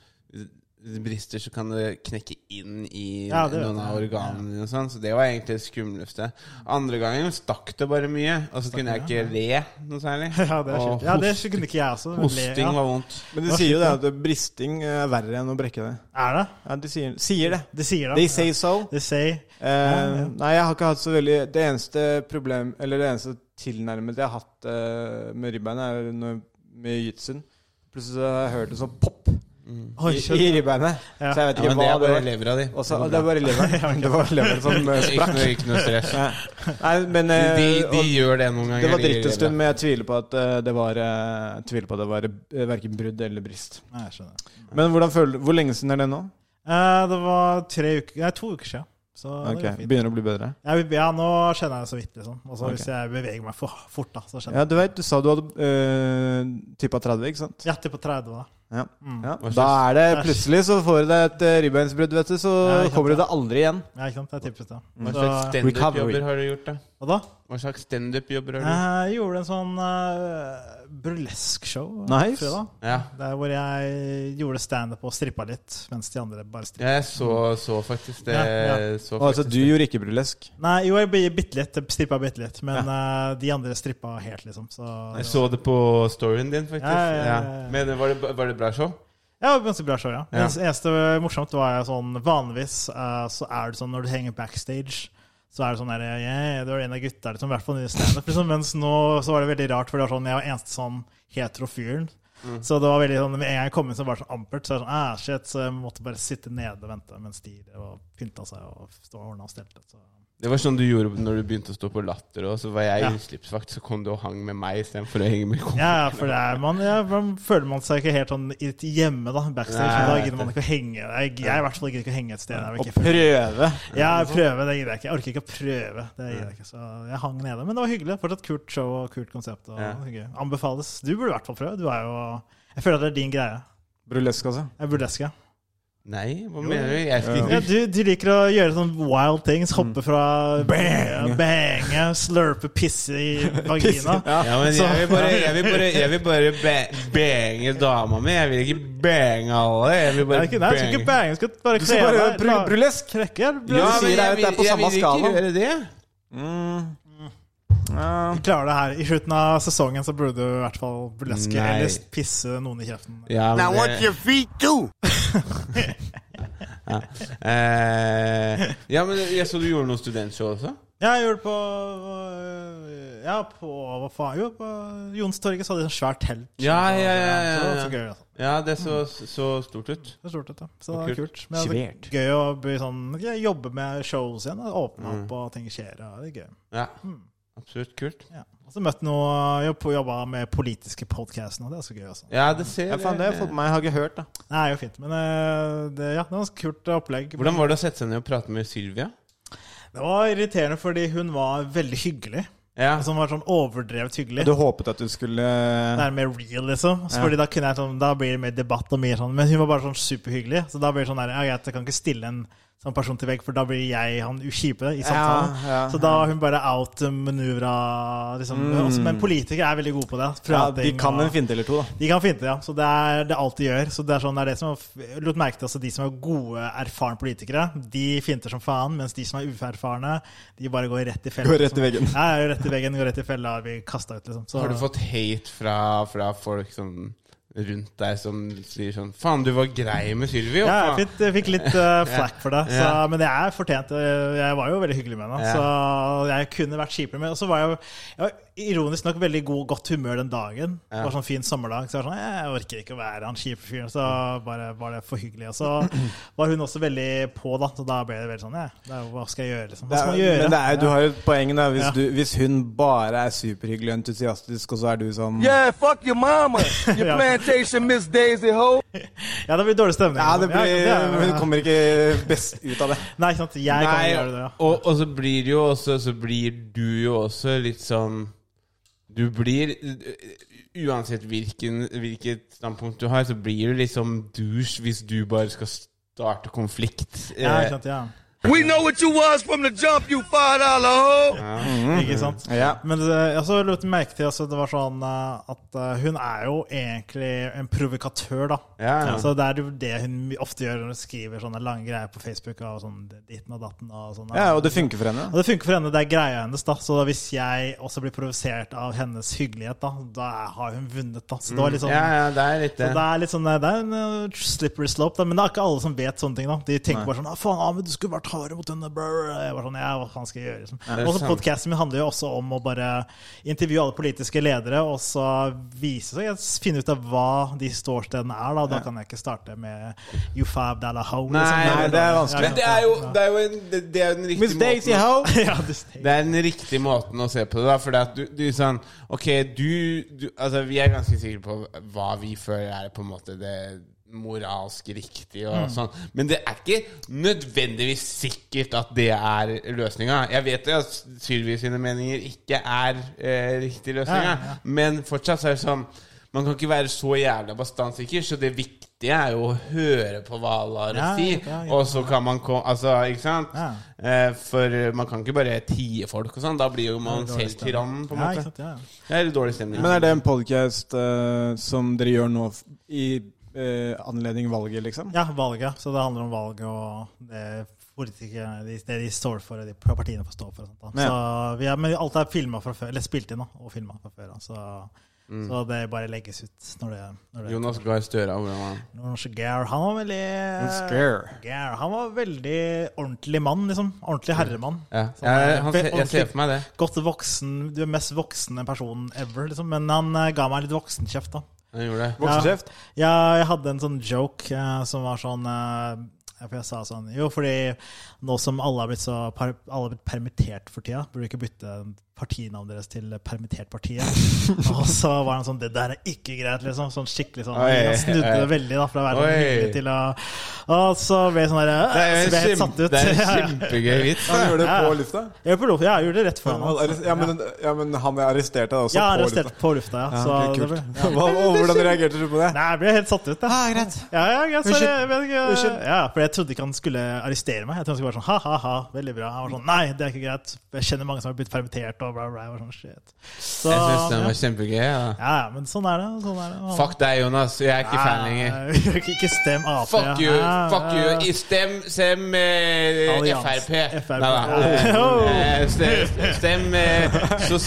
[SPEAKER 3] det brister, så kan det knekke inn i
[SPEAKER 1] Ja, det vet
[SPEAKER 3] noen av
[SPEAKER 1] jeg.
[SPEAKER 3] organene dine. og sånn, Så det var egentlig det skumleste. Andre gangen stakk det bare mye, og så kunne jeg ikke le noe særlig.
[SPEAKER 1] Ja, det er
[SPEAKER 3] Og
[SPEAKER 1] skitt. Ja, det
[SPEAKER 3] host-
[SPEAKER 1] kunne ikke jeg også. men le-
[SPEAKER 3] hosting
[SPEAKER 1] ja.
[SPEAKER 3] var vondt.
[SPEAKER 2] Men de sier jo det at bristing eh, er verre enn å brekke det.
[SPEAKER 1] Er det?
[SPEAKER 2] Ja, de sier, sier det.
[SPEAKER 1] De sier det.
[SPEAKER 2] They say so.
[SPEAKER 1] De sier
[SPEAKER 2] Eh, nei, jeg har ikke hatt så veldig Det eneste problem, eller det eneste tilnærmet jeg har hatt eh, med ribbeina, er når, med jiu-jitsuen. Plutselig så har jeg hørt en sånn pop
[SPEAKER 1] Oi,
[SPEAKER 2] i,
[SPEAKER 1] shit.
[SPEAKER 2] i ribbeina.
[SPEAKER 1] Ja.
[SPEAKER 2] Så jeg vet
[SPEAKER 3] Ja,
[SPEAKER 2] ikke
[SPEAKER 3] men det
[SPEAKER 2] hva
[SPEAKER 3] er
[SPEAKER 2] det
[SPEAKER 3] bare
[SPEAKER 2] var.
[SPEAKER 3] lever av de.
[SPEAKER 2] Og så- Altså, det er bare leveren. Det var leveren som eh,
[SPEAKER 3] Ikke
[SPEAKER 2] sprakk.
[SPEAKER 3] noe, ikke noe stress.
[SPEAKER 2] Nei, men
[SPEAKER 3] De,
[SPEAKER 2] eh,
[SPEAKER 3] de
[SPEAKER 2] og-
[SPEAKER 3] gjør det noen ganger.
[SPEAKER 2] Det var
[SPEAKER 3] de
[SPEAKER 2] dritt en
[SPEAKER 3] gjør det.
[SPEAKER 2] stund, men jeg tviler på at eh, det var, eh, jeg tviler på at det var eh, hverken brudd eller brist.
[SPEAKER 1] Nei, jeg skjønner.
[SPEAKER 2] Men hvordan føler, du- hvor lenge siden er det nå?
[SPEAKER 1] Eh, Det var tre uker, nei, to uker siden. Så
[SPEAKER 2] Ok,
[SPEAKER 1] det var fint.
[SPEAKER 2] Begynner å bli bedre?
[SPEAKER 1] Jeg, ja, nå kjenner jeg det så vidt, liksom. Og så
[SPEAKER 2] Ok.
[SPEAKER 1] hvis jeg beveger meg for fort, da, så kjenner
[SPEAKER 2] Ja,
[SPEAKER 1] jeg
[SPEAKER 2] du vet, du sa du hadde uh, tippa 30, ikke sant?
[SPEAKER 1] jeg Hjertet på 30, da.
[SPEAKER 2] Ja. ja.
[SPEAKER 3] Hva slags-
[SPEAKER 2] Da er det plutselig så får du deg et uh, ribbeinsbrudd, vet du, så
[SPEAKER 1] Ja, ikke sant,
[SPEAKER 2] kommer du
[SPEAKER 1] ja.
[SPEAKER 2] deg aldri igjen.
[SPEAKER 1] Ja, ikke sant? Det er typisk, da.
[SPEAKER 2] Mm.
[SPEAKER 1] Så,
[SPEAKER 3] Hva slags standup-jobber
[SPEAKER 2] Recovery.
[SPEAKER 3] har du gjort, da?
[SPEAKER 1] hva da?
[SPEAKER 3] Hva slags standup-jobber har du gjort?
[SPEAKER 1] Jeg gjorde en sånn eh, burlesque-show
[SPEAKER 2] Nice.
[SPEAKER 1] fredag.
[SPEAKER 3] Ja.
[SPEAKER 1] Der hvor jeg gjorde standup og strippa litt, mens de andre bare strippa.
[SPEAKER 3] Ja, Jeg så, så faktisk det.
[SPEAKER 1] Ja, ja.
[SPEAKER 3] Så
[SPEAKER 2] Og altså,
[SPEAKER 3] faktisk
[SPEAKER 2] du
[SPEAKER 3] det.
[SPEAKER 2] gjorde ikke burlesk?
[SPEAKER 1] Nei, jo, jeg blir bitte litt, strippa bitte litt, men eh, de andre strippa helt, liksom. Så
[SPEAKER 3] Jeg
[SPEAKER 1] det var,
[SPEAKER 3] så det på storyen din, faktisk.
[SPEAKER 1] Ja, ja, ja, ja.
[SPEAKER 3] Men det- var det, var det bra show?
[SPEAKER 1] ja, det var ganske bra show, ja.
[SPEAKER 3] Ja.
[SPEAKER 1] Det eneste morsomt var jo sånn Vanligvis eh, så er det sånn når du henger backstage, så er det sånn der yeah, Det var en av gutta, liksom, i hvert fall i standup, liksom. Mens nå så var det veldig rart, for det var sånn jeg var eneste sånn hetero fyren.
[SPEAKER 3] Mm.
[SPEAKER 1] Så det var veldig sånn, med en gang jeg kom inn, så var det sånn ampert. Så jeg, var sånn, ah, shit, så jeg måtte bare sitte nede og vente mens de og pynta seg og stå og ordna og stelte. Så.
[SPEAKER 3] Det var sånn du gjorde når du begynte å stå på Latter òg. Så var jeg
[SPEAKER 1] Ja.
[SPEAKER 3] utslippsvakt, så kom du og hang med meg istedenfor å henge med komikerne.
[SPEAKER 1] Ja, ja, for det er, man, ja, man føler man seg ikke helt sånn i- hjemme da, backstage.
[SPEAKER 3] Nei,
[SPEAKER 1] da
[SPEAKER 3] jeg vet
[SPEAKER 1] gidder man ikke å henge. Jeg, jeg i hvert fall gidder ikke å henge et sted. Der,
[SPEAKER 2] Og
[SPEAKER 1] ikke,
[SPEAKER 2] prøve!
[SPEAKER 1] ja, prøve, det gidder jeg ikke. Jeg orker ikke å prøve. Det gidder jeg ikke. Så jeg hang nede. Men det var hyggelig. Fortsatt kult show og kult konsept. Og
[SPEAKER 3] Ja.
[SPEAKER 1] hyggelig. Anbefales. Du burde i hvert fall prøve. Du er jo Jeg føler at det er din greie.
[SPEAKER 2] Burlesk, altså.
[SPEAKER 1] Jeg er burleske.
[SPEAKER 3] Nei, hva mener du? Jeg skal
[SPEAKER 1] Ja,
[SPEAKER 3] ikke
[SPEAKER 1] du, du liker å gjøre sånne wild things. Hoppe fra
[SPEAKER 2] Mm. Bang!
[SPEAKER 1] Bange, slurpe, pisse i vagina.
[SPEAKER 3] ja, men jeg vil bare, jeg vil bare, jeg vil bare ba- bange dama mi. Jeg vil ikke bange alle. Jeg vil
[SPEAKER 1] Nei,
[SPEAKER 3] bare
[SPEAKER 1] ikke- nei, du skal ikke bange. Du skal bare
[SPEAKER 2] Du skal
[SPEAKER 1] kle
[SPEAKER 2] bare
[SPEAKER 1] deg.
[SPEAKER 2] bru-
[SPEAKER 1] la-
[SPEAKER 2] burlesk!
[SPEAKER 1] Krekke er burlesk.
[SPEAKER 2] Ja,
[SPEAKER 3] Ja,
[SPEAKER 2] Du
[SPEAKER 3] men
[SPEAKER 2] sier
[SPEAKER 3] jeg
[SPEAKER 2] at det er
[SPEAKER 3] vil-
[SPEAKER 2] på samme
[SPEAKER 3] Jeg vil
[SPEAKER 2] skala.
[SPEAKER 3] ikke gjøre det.
[SPEAKER 2] Mm. Ja.
[SPEAKER 1] klarer det her i slutten av sesongen, så burde du i hvert fall burleske
[SPEAKER 3] Nei.
[SPEAKER 1] eller pisse noen i kjeften.
[SPEAKER 3] Ja, men
[SPEAKER 5] Now
[SPEAKER 3] det-
[SPEAKER 5] what your feet do?
[SPEAKER 3] ja. Eh, ja, men jeg så du gjorde noe studentshow også.
[SPEAKER 1] Ja, jeg gjorde det på øh, Ja, på hva faen? Jo, på Jonstorget så hadde de et svært telt.
[SPEAKER 3] Ja, ja, ja, ja,
[SPEAKER 1] Så det var
[SPEAKER 3] ja,
[SPEAKER 1] så
[SPEAKER 3] ja.
[SPEAKER 1] gøy. Altså.
[SPEAKER 3] Ja, det så, så stort ut.
[SPEAKER 1] Det er stort, dette. Så det
[SPEAKER 3] Og
[SPEAKER 1] var
[SPEAKER 3] kult.
[SPEAKER 1] kult. Men det
[SPEAKER 2] Svært.
[SPEAKER 1] er gøy å bli sånn, ja, jobbe med shows igjen. da. Åpne
[SPEAKER 3] Mm.
[SPEAKER 1] opp, og ting skjer. Og det er gøy.
[SPEAKER 3] Ja, absolutt kult.
[SPEAKER 1] Ja. Og så møtte noe, jobb- jobba med politiske podcasten, og det er så gøy. Altså.
[SPEAKER 3] Ja, det ser
[SPEAKER 2] Ja, faen, det har jeg fått med meg. Jeg har ikke hørt, da.
[SPEAKER 1] Det er jo fint. Men øh, det, ja, det var et kult opplegg.
[SPEAKER 3] Hvordan var det å sette seg ned og prate med Sylvia?
[SPEAKER 1] Det var irriterende fordi hun var veldig hyggelig.
[SPEAKER 3] Ja,
[SPEAKER 1] Som var sånn overdrevet hyggelig.
[SPEAKER 2] Du håpet at du skulle eh,
[SPEAKER 1] Det er mer real, liksom. Så fordi da, kunne jeg, sånn, da blir det mer debatt og mye sånn. Men hun var bare sånn superhyggelig. Så da blir det sånn der, ja, greit, jeg kan ikke stille en sånn person til vegg, for da blir jeg han uskipe i samtalen.
[SPEAKER 2] ja, Mm.
[SPEAKER 1] så da har hun bare outmanøvra liksom. Også- Men politikere er veldig gode på det.
[SPEAKER 2] ja, De
[SPEAKER 1] Prating
[SPEAKER 2] kan
[SPEAKER 1] og-
[SPEAKER 2] en finte eller to, da.
[SPEAKER 1] de kan finte, ja. Så det er det alt de gjør. Så det er sånn, det er det som jeg lot merke til altså, De som er gode, erfarne politikere, de finter som faen. Mens de som er uerfarne, de bare går rett i fella.
[SPEAKER 2] Går rett i veggen.
[SPEAKER 1] Liksom. Ja, ja, rett i veggen, går rett i fella. Vi kasta ut, liksom. Så,
[SPEAKER 3] Har du fått hate fra, fra folk sånn rundt deg som sier sånn Faen, du var grei med Sylvi.
[SPEAKER 1] ja,
[SPEAKER 3] Ja,
[SPEAKER 1] jeg fikk, jeg fikk litt eh, flack for det, så,
[SPEAKER 3] Ja.
[SPEAKER 1] men det er fortjent. Jeg jeg var jo veldig hyggelig med henne,
[SPEAKER 3] Ja.
[SPEAKER 1] så jeg kunne vært kjipere. med Og så var jeg, jo- jeg var ironisk nok veldig god, godt humør den dagen. Det var sånn fin sommerdag. Så jeg var sånn, jeg orker ikke å være han kjipe fyren, så bare var det for hyggelig. Og så var hun også veldig på, da, så da ble det veldig sånn ja, det er, jo- Hva skal jeg gjøre, liksom? Hva skal man gjøre?
[SPEAKER 2] men det er, du har jo et poeng, da. Hvis,
[SPEAKER 1] Ja.
[SPEAKER 2] du, hvis hun bare er superhyggelig og entusiastisk, og så er du sånn
[SPEAKER 7] Yeah, fuck your mama. Your
[SPEAKER 1] Ja.
[SPEAKER 7] plantation, Miss Daisy Ho.
[SPEAKER 1] Ja, det blir dårlig stemning.
[SPEAKER 2] Ja, det
[SPEAKER 1] liksom.
[SPEAKER 2] blir,
[SPEAKER 1] ja,
[SPEAKER 2] hun
[SPEAKER 1] ja.
[SPEAKER 2] kommer ikke best ut av det.
[SPEAKER 1] Nei, ikke sant. Jeg kan
[SPEAKER 3] Nei,
[SPEAKER 1] jo gjøre det, ja.
[SPEAKER 3] og, og så blir det jo også Så blir du jo også litt sånn Du blir Uansett hvilken, hvilket standpunkt du har, så blir du liksom douche hvis du bare skal starte konflikt.
[SPEAKER 1] ja.
[SPEAKER 3] Eh,
[SPEAKER 1] Ikke sant, ja.
[SPEAKER 7] We know what you was from the jump, you five dollar hoe.
[SPEAKER 1] Mm. Ikke sant?
[SPEAKER 2] Ja.
[SPEAKER 1] Men eh, jeg så lot merke til altså, det var sånn eh, at eh, hun er jo egentlig en provokatør, da.
[SPEAKER 3] Ja, ja.
[SPEAKER 1] Så det er jo det hun ofte gjør når hun skriver sånne lange greier på Facebook. Og sånn ditten og datten og sånn.
[SPEAKER 2] ja, og det funker for henne.
[SPEAKER 1] Og det funker for henne, det er greia hennes. da Så hvis jeg også blir provosert av hennes hyggelighet, da Da har hun vunnet, da. Så det var litt sånn
[SPEAKER 3] ja, ja, det er litt
[SPEAKER 1] så
[SPEAKER 3] det.
[SPEAKER 1] det er litt sånn, eh, det er en eh, slippery slope, da, men det er ikke alle som vet sånne ting. da De tenker bare sånn ah, 'Faen, Ahmed, du skulle vært hardere mot denne brr.» Jeg var sånn, ja, hva faen skal jeg gjøre? Liksom.
[SPEAKER 3] det er
[SPEAKER 1] og så
[SPEAKER 3] sant.
[SPEAKER 1] Podkasten min handler jo også om å bare intervjue alle politiske ledere og så vise seg, finne ut av hva de ståstedene er. Da Da kan jeg ikke starte med 'you fab dalla ho'.
[SPEAKER 3] Nei, nei, det
[SPEAKER 2] er vanskelig.
[SPEAKER 3] Men det
[SPEAKER 1] sånn.
[SPEAKER 3] er jo, det er jo en, det, det er jo den riktige
[SPEAKER 2] Miss Daisy
[SPEAKER 3] måten.
[SPEAKER 2] Ho!
[SPEAKER 1] ja, du,
[SPEAKER 3] Det er den riktige måten å se på det, da. For det at du, du sånn Ok, du, du Altså, vi er ganske sikre på hva vi føler er på en måte det moralsk riktig og
[SPEAKER 1] Mm.
[SPEAKER 3] sånn. Men det er ikke nødvendigvis sikkert at det er løsninga. Jeg vet jo at Sylvi sine meninger ikke er eh, riktig løsninga,
[SPEAKER 1] Ja, ja.
[SPEAKER 3] men fortsatt så er det sånn Man kan ikke være så jævla bastant sikker, så det viktige viktige er jo å høre på hva alle har å
[SPEAKER 1] Ja,
[SPEAKER 3] si.
[SPEAKER 1] ja, ja, ja.
[SPEAKER 3] Og så kan man komme Altså, ikke sant?
[SPEAKER 1] Ja.
[SPEAKER 3] Eh, For man kan ikke bare tie folk og sånn. Da blir jo man
[SPEAKER 1] Det er dårlig
[SPEAKER 3] selv
[SPEAKER 1] stemning.
[SPEAKER 3] tyrannen, på en
[SPEAKER 1] Ja, ikke
[SPEAKER 3] måte.
[SPEAKER 1] sant, ja. ja.
[SPEAKER 3] Det er litt dårlig stemning.
[SPEAKER 2] Men er det en podcast eh, som dere gjør nå f- i eh, anledning valget, liksom?
[SPEAKER 1] Ja, valget. Så det handler om valget og det politikere de- Det de står for, og de partiene får stå for. Og sånt, da.
[SPEAKER 2] Ja.
[SPEAKER 1] Så vi er, men alt er filmet fra før, eller spilt inn da, og filma fra før. Da. Så,
[SPEAKER 3] Mm.
[SPEAKER 1] så det bare legges ut når det, når det
[SPEAKER 3] Jonas Gahr Støre, hvordan var han?
[SPEAKER 1] Norske Geir, han var veldig
[SPEAKER 2] Scare.
[SPEAKER 1] Geir, han var veldig ordentlig mann, liksom. Ordentlig herremann.
[SPEAKER 3] Mm. Ja.
[SPEAKER 1] Sånn,
[SPEAKER 3] Jeg, han,
[SPEAKER 1] ve-
[SPEAKER 3] ser- jeg
[SPEAKER 1] ordentlig
[SPEAKER 3] ser for meg det.
[SPEAKER 1] Godt voksen, du er mest voksne personen ever, liksom. Men han eh, ga meg litt voksenkjeft, da.
[SPEAKER 3] Han gjorde det.
[SPEAKER 2] Voksenkjeft?
[SPEAKER 1] Ja, jeg hadde en sånn joke eh, som var sånn eh, For jeg sa sånn Jo, fordi nå som alle har blitt, så, par, alle har blitt permittert for tida, burde du ikke bytte partinavnet deres til Permittert-partiet? og så var han sånn Det der er ikke greit, liksom. Sånn skikkelig sånn.
[SPEAKER 3] Oi,
[SPEAKER 1] han snudde det
[SPEAKER 3] oi.
[SPEAKER 1] veldig, da, fra å være sånn
[SPEAKER 3] Oi.
[SPEAKER 1] hyggelig til å Og så ble jeg sånn der
[SPEAKER 3] Det er
[SPEAKER 1] eh, Så
[SPEAKER 3] jo
[SPEAKER 1] ble jeg
[SPEAKER 3] en,
[SPEAKER 1] helt satt
[SPEAKER 3] kjempe,
[SPEAKER 1] ut.
[SPEAKER 3] det er en
[SPEAKER 1] Ja, ja.
[SPEAKER 3] kjempegøy vits.
[SPEAKER 2] Han
[SPEAKER 3] da.
[SPEAKER 2] gjør det
[SPEAKER 1] Ja.
[SPEAKER 2] på lufta?
[SPEAKER 1] Jeg gjorde på- ja, jeg gjorde det rett før
[SPEAKER 2] Han,
[SPEAKER 1] han.
[SPEAKER 2] arre- ja, men, ja, men han jeg arresterte deg også
[SPEAKER 1] Ja,
[SPEAKER 2] på
[SPEAKER 1] arrestert
[SPEAKER 2] lufta.
[SPEAKER 1] på lufta, ja.
[SPEAKER 2] Ja,
[SPEAKER 1] Så
[SPEAKER 2] det
[SPEAKER 1] det
[SPEAKER 2] er
[SPEAKER 1] ble,
[SPEAKER 2] kult. Hva, og hvordan reagerte du på det?
[SPEAKER 1] Nei, jeg ble helt satt ut,
[SPEAKER 3] Ah,
[SPEAKER 1] jeg.
[SPEAKER 2] greit.
[SPEAKER 1] Ja, ja, greit, så
[SPEAKER 2] Unnskyld.
[SPEAKER 1] jeg vet ikke
[SPEAKER 2] Unnskyld.
[SPEAKER 1] Ja, for jeg trodde ikke han skulle arrestere meg. Jeg trodde han skulle være sånn ha-ha-ha, veldig bra. Han var sånn nei, det er ikke greit. Jeg kjenner mange som har blitt permittert og bla, bla. Jeg var sånn shit. Så,
[SPEAKER 3] Jeg syns den
[SPEAKER 1] ja.
[SPEAKER 3] var kjempegøy. Ja.
[SPEAKER 1] ja, ja, men sånn er det. Sånn er det. Han-
[SPEAKER 3] Fuck deg, Jonas. Jeg er ikke fan lenger.
[SPEAKER 1] Nei, ikke- ikke stem Ap.
[SPEAKER 3] Fuck you!
[SPEAKER 1] Ja,
[SPEAKER 3] Fuck
[SPEAKER 1] ja.
[SPEAKER 3] you! I Stem, stem eh,
[SPEAKER 1] Allians.
[SPEAKER 3] Frp.
[SPEAKER 1] FRP.
[SPEAKER 3] Nei, nei.
[SPEAKER 1] Oh.
[SPEAKER 3] Eh, Stem, stem eh,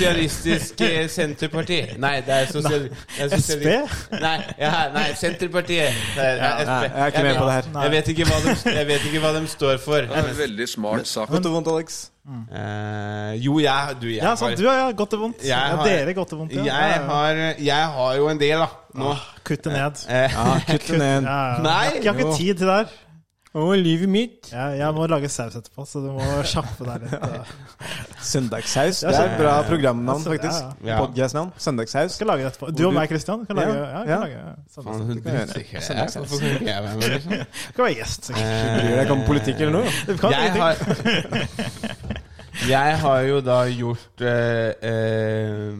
[SPEAKER 3] Sosialistisk eh, Senterparti. Nei, det er sosial... det er sosiali-
[SPEAKER 1] SP?
[SPEAKER 3] Nei, ja, nei Senterpartiet. Nei, det er
[SPEAKER 2] Nei,
[SPEAKER 3] SP.
[SPEAKER 2] jeg er ikke med på det her.
[SPEAKER 1] Nei.
[SPEAKER 3] Jeg vet ikke hva de, jeg vet ikke hva de står for.
[SPEAKER 7] Veldig smart sagt.
[SPEAKER 2] Godt og vondt, Alex.
[SPEAKER 3] Eh, jo, jeg du, jeg
[SPEAKER 1] Ja, sånn, du
[SPEAKER 3] har
[SPEAKER 1] har ja, godt og vondt.
[SPEAKER 3] Jeg
[SPEAKER 1] ja,
[SPEAKER 3] har-
[SPEAKER 1] dere godt og vondt. Ja.
[SPEAKER 3] jeg
[SPEAKER 1] Ja, ja.
[SPEAKER 3] har, jeg har jo en del, da. Nå.
[SPEAKER 1] Kutt det ned.
[SPEAKER 3] Eh,
[SPEAKER 2] Ja, kutt den ned.
[SPEAKER 1] Ja, ja.
[SPEAKER 3] Nei,
[SPEAKER 1] Jeg har ikke
[SPEAKER 2] jo.
[SPEAKER 1] tid til det her.
[SPEAKER 2] Å, livet mitt.
[SPEAKER 1] Jeg, jeg må lage saus etterpå, så du må kjappe deg litt. da. Jeg
[SPEAKER 2] Søndagssaus. Det er et
[SPEAKER 1] Eh,
[SPEAKER 2] bra programnavn, faktisk.
[SPEAKER 3] Ja.
[SPEAKER 2] Podcastnavn. Søndagssaus.
[SPEAKER 1] altså, skal lage det etterpå. Du og meg, Christian, kan lage, ja, kan lage saus.
[SPEAKER 3] Faen, hun
[SPEAKER 2] gjøre.
[SPEAKER 3] drittsekker jeg er. Hvorfor kunne ikke jeg være med, liksom?
[SPEAKER 1] Du kan være gjest. sikkert.
[SPEAKER 2] Bryr deg ikke om Eh, politikk eller noe?
[SPEAKER 1] Du kan
[SPEAKER 3] jeg
[SPEAKER 1] ingenting.
[SPEAKER 3] har, jeg har jo da gjort eh, eh,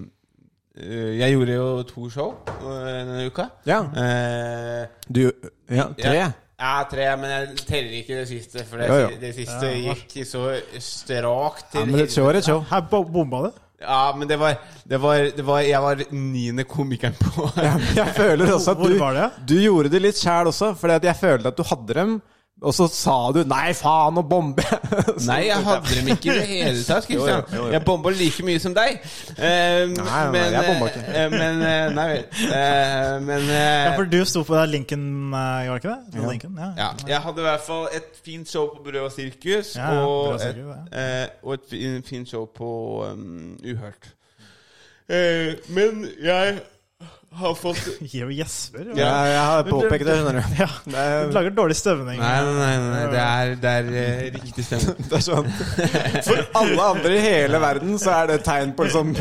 [SPEAKER 3] eh, Jeg gjorde jo to show eh, denne uka.
[SPEAKER 2] Ja.
[SPEAKER 3] Eh,
[SPEAKER 2] Du Ja, tre.
[SPEAKER 3] jeg- Ja, tre, men jeg teller ikke det siste, for det,
[SPEAKER 2] Jo, jo.
[SPEAKER 3] det siste
[SPEAKER 1] Ja, hva?
[SPEAKER 3] gikk så strakt til
[SPEAKER 2] Ja, men et show er et show.
[SPEAKER 1] Her bo- bomba du.
[SPEAKER 3] Ja, men det var, det var, det var Jeg var niende komikeren på
[SPEAKER 2] Jeg føler også at
[SPEAKER 1] Hvor
[SPEAKER 2] du,
[SPEAKER 1] var det?
[SPEAKER 2] du gjorde det litt sjæl også, Fordi at jeg følte at du hadde dem. Og så sa du 'nei, faen, og bombe'. Så-
[SPEAKER 3] Nei, jeg hadde dem ikke i det hele tatt.
[SPEAKER 2] Jo,
[SPEAKER 3] Kristian
[SPEAKER 2] jo, jo, jo.
[SPEAKER 3] Jeg bomba like mye som deg. Eh,
[SPEAKER 2] nei, nei,
[SPEAKER 3] men,
[SPEAKER 2] jeg bomba ikke.
[SPEAKER 3] eh, Men eh, Nei vel. Eh, men eh,
[SPEAKER 1] Ja, for du sto på den linken, eh, gjorde du ikke det? Ja. Linken, ja.
[SPEAKER 3] Ja. Jeg hadde i hvert fall et fint show på Brød og sirkus,
[SPEAKER 1] Ja, ja, Brød
[SPEAKER 3] og,
[SPEAKER 1] og sirkus,
[SPEAKER 3] et, eh, og et fin- fint show på um, Uhørt. Eh, men jeg har fått
[SPEAKER 1] Gir jo gjesper. jo.
[SPEAKER 3] Ja.
[SPEAKER 2] Jeg, jeg har påpekt det, skjønner du.
[SPEAKER 1] Ja. Du
[SPEAKER 2] Det er,
[SPEAKER 1] lager dårlig støvning.
[SPEAKER 3] Nei, nei, nei, nei det er, det er eh, riktig stemme.
[SPEAKER 2] det er sånn For alle andre i hele verden så er det et tegn på liksom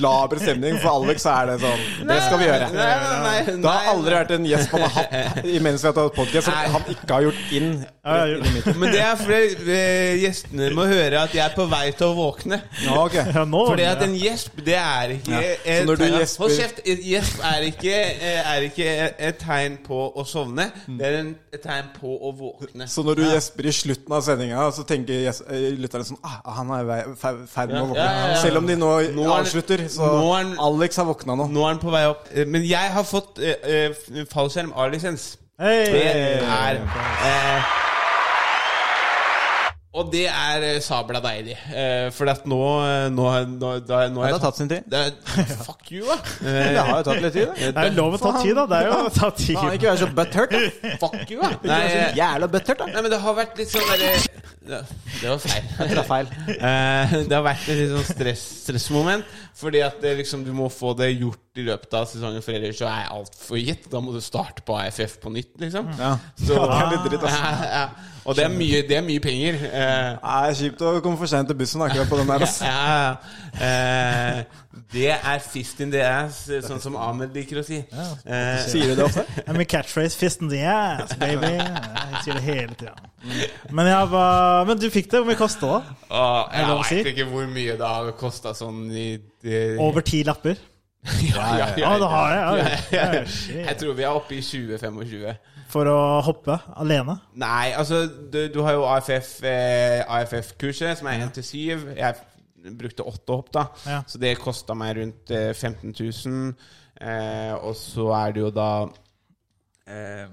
[SPEAKER 2] laber stemning. For Alex så er det sånn Det skal vi gjøre.
[SPEAKER 3] Nei, nei, nei, nei,
[SPEAKER 2] Det har aldri vært en gjest man har hatt imens vi har tatt podkast, som han ikke har gjort inn.
[SPEAKER 1] Ja, ja, jo.
[SPEAKER 3] Men det er fordi eh, gjestene må høre at jeg er på vei til å våkne.
[SPEAKER 2] Ja, ok.
[SPEAKER 1] Ja, nå
[SPEAKER 3] Fordi at
[SPEAKER 1] ja.
[SPEAKER 3] en gjesp, det er ikke et
[SPEAKER 2] Så når du
[SPEAKER 3] tegn-
[SPEAKER 2] gjesper-
[SPEAKER 3] Hold kjeft! Et Gjesp er ikke, eh, er ikke et tegn på å sovne. Det er en, et tegn på å våkne.
[SPEAKER 2] Mm. Så når du gjesper i slutten av sendinga, så tenker gjes- eh, lytterne sånn ah, 'Han er i vei- fer- ferdig med å våkne'.
[SPEAKER 3] Ja, ja, ja, ja.
[SPEAKER 2] Selv om de nå,
[SPEAKER 3] Nå er-
[SPEAKER 2] avslutter. Så
[SPEAKER 3] nå er-
[SPEAKER 2] Alex har våkna nå.
[SPEAKER 3] Nå er den på vei opp. Eh, Men jeg har fått eh, eh, f- fallskjerm A-lisens. Det
[SPEAKER 1] Hei!
[SPEAKER 3] er eh, Og det er eh, sabla deilig. Eh, for at nå eh, Nå, nå, da, nå har jeg tatt
[SPEAKER 2] sin tid.
[SPEAKER 3] det er, Fuck you, da. Eh,
[SPEAKER 2] Det har jo tatt litt tid, det.
[SPEAKER 1] Det er jo lov å ta tid, da. Det er jo å ta tid.
[SPEAKER 2] Faen, ikke være så butthurt, da.
[SPEAKER 3] fuck you, da. Nei,
[SPEAKER 2] Nei,
[SPEAKER 3] eh,
[SPEAKER 2] jævla butthurt, da.
[SPEAKER 3] nei, men det har vært litt sånn derre ja, Det var feil.
[SPEAKER 2] Jeg traff feil.
[SPEAKER 3] Eh, det har vært et litt sånn stress, stressmoment. Fordi at det, liksom, du må få det gjort i løpet av sesongen, for ellers så er alt for gitt. Da må du starte på AFF på nytt, liksom.
[SPEAKER 2] Ja.
[SPEAKER 3] Så,
[SPEAKER 2] det er litt dritt, ass.
[SPEAKER 3] Ja, ja. Og det er mye, det er mye penger. Eh,
[SPEAKER 2] Nei, det er kjipt å komme for seint til bussen akkurat på den der. ass.
[SPEAKER 3] ja, ja. Eh, det er fist in the ass, sånn som Ahmed liker å si. Eh,
[SPEAKER 2] Sier du det ofte?
[SPEAKER 1] Ja, Min catchphrase 'fist in the ass, baby'. Jeg sier det hele tida. Men, jeg var- men du fikk det. Hvor mye kosta det?
[SPEAKER 3] og
[SPEAKER 1] Er det lov å
[SPEAKER 3] jeg
[SPEAKER 1] si?
[SPEAKER 3] veit ikke hvor mye det har kosta sånn i det,
[SPEAKER 1] Over ti lapper?
[SPEAKER 3] Ja, ja,
[SPEAKER 1] Ja, det har jeg. Ja, ja, ja,
[SPEAKER 3] Jeg
[SPEAKER 1] shit.
[SPEAKER 3] tror vi er oppe i 20-25.
[SPEAKER 1] For å hoppe alene.
[SPEAKER 3] Nei, altså du, du har jo AFF, eh, AFF-kurset, som er 1-7. Jeg brukte åtte hopp, da.
[SPEAKER 1] Ja.
[SPEAKER 3] Så det kosta meg rundt eh, 15 000. Eh, og så er det jo da eh,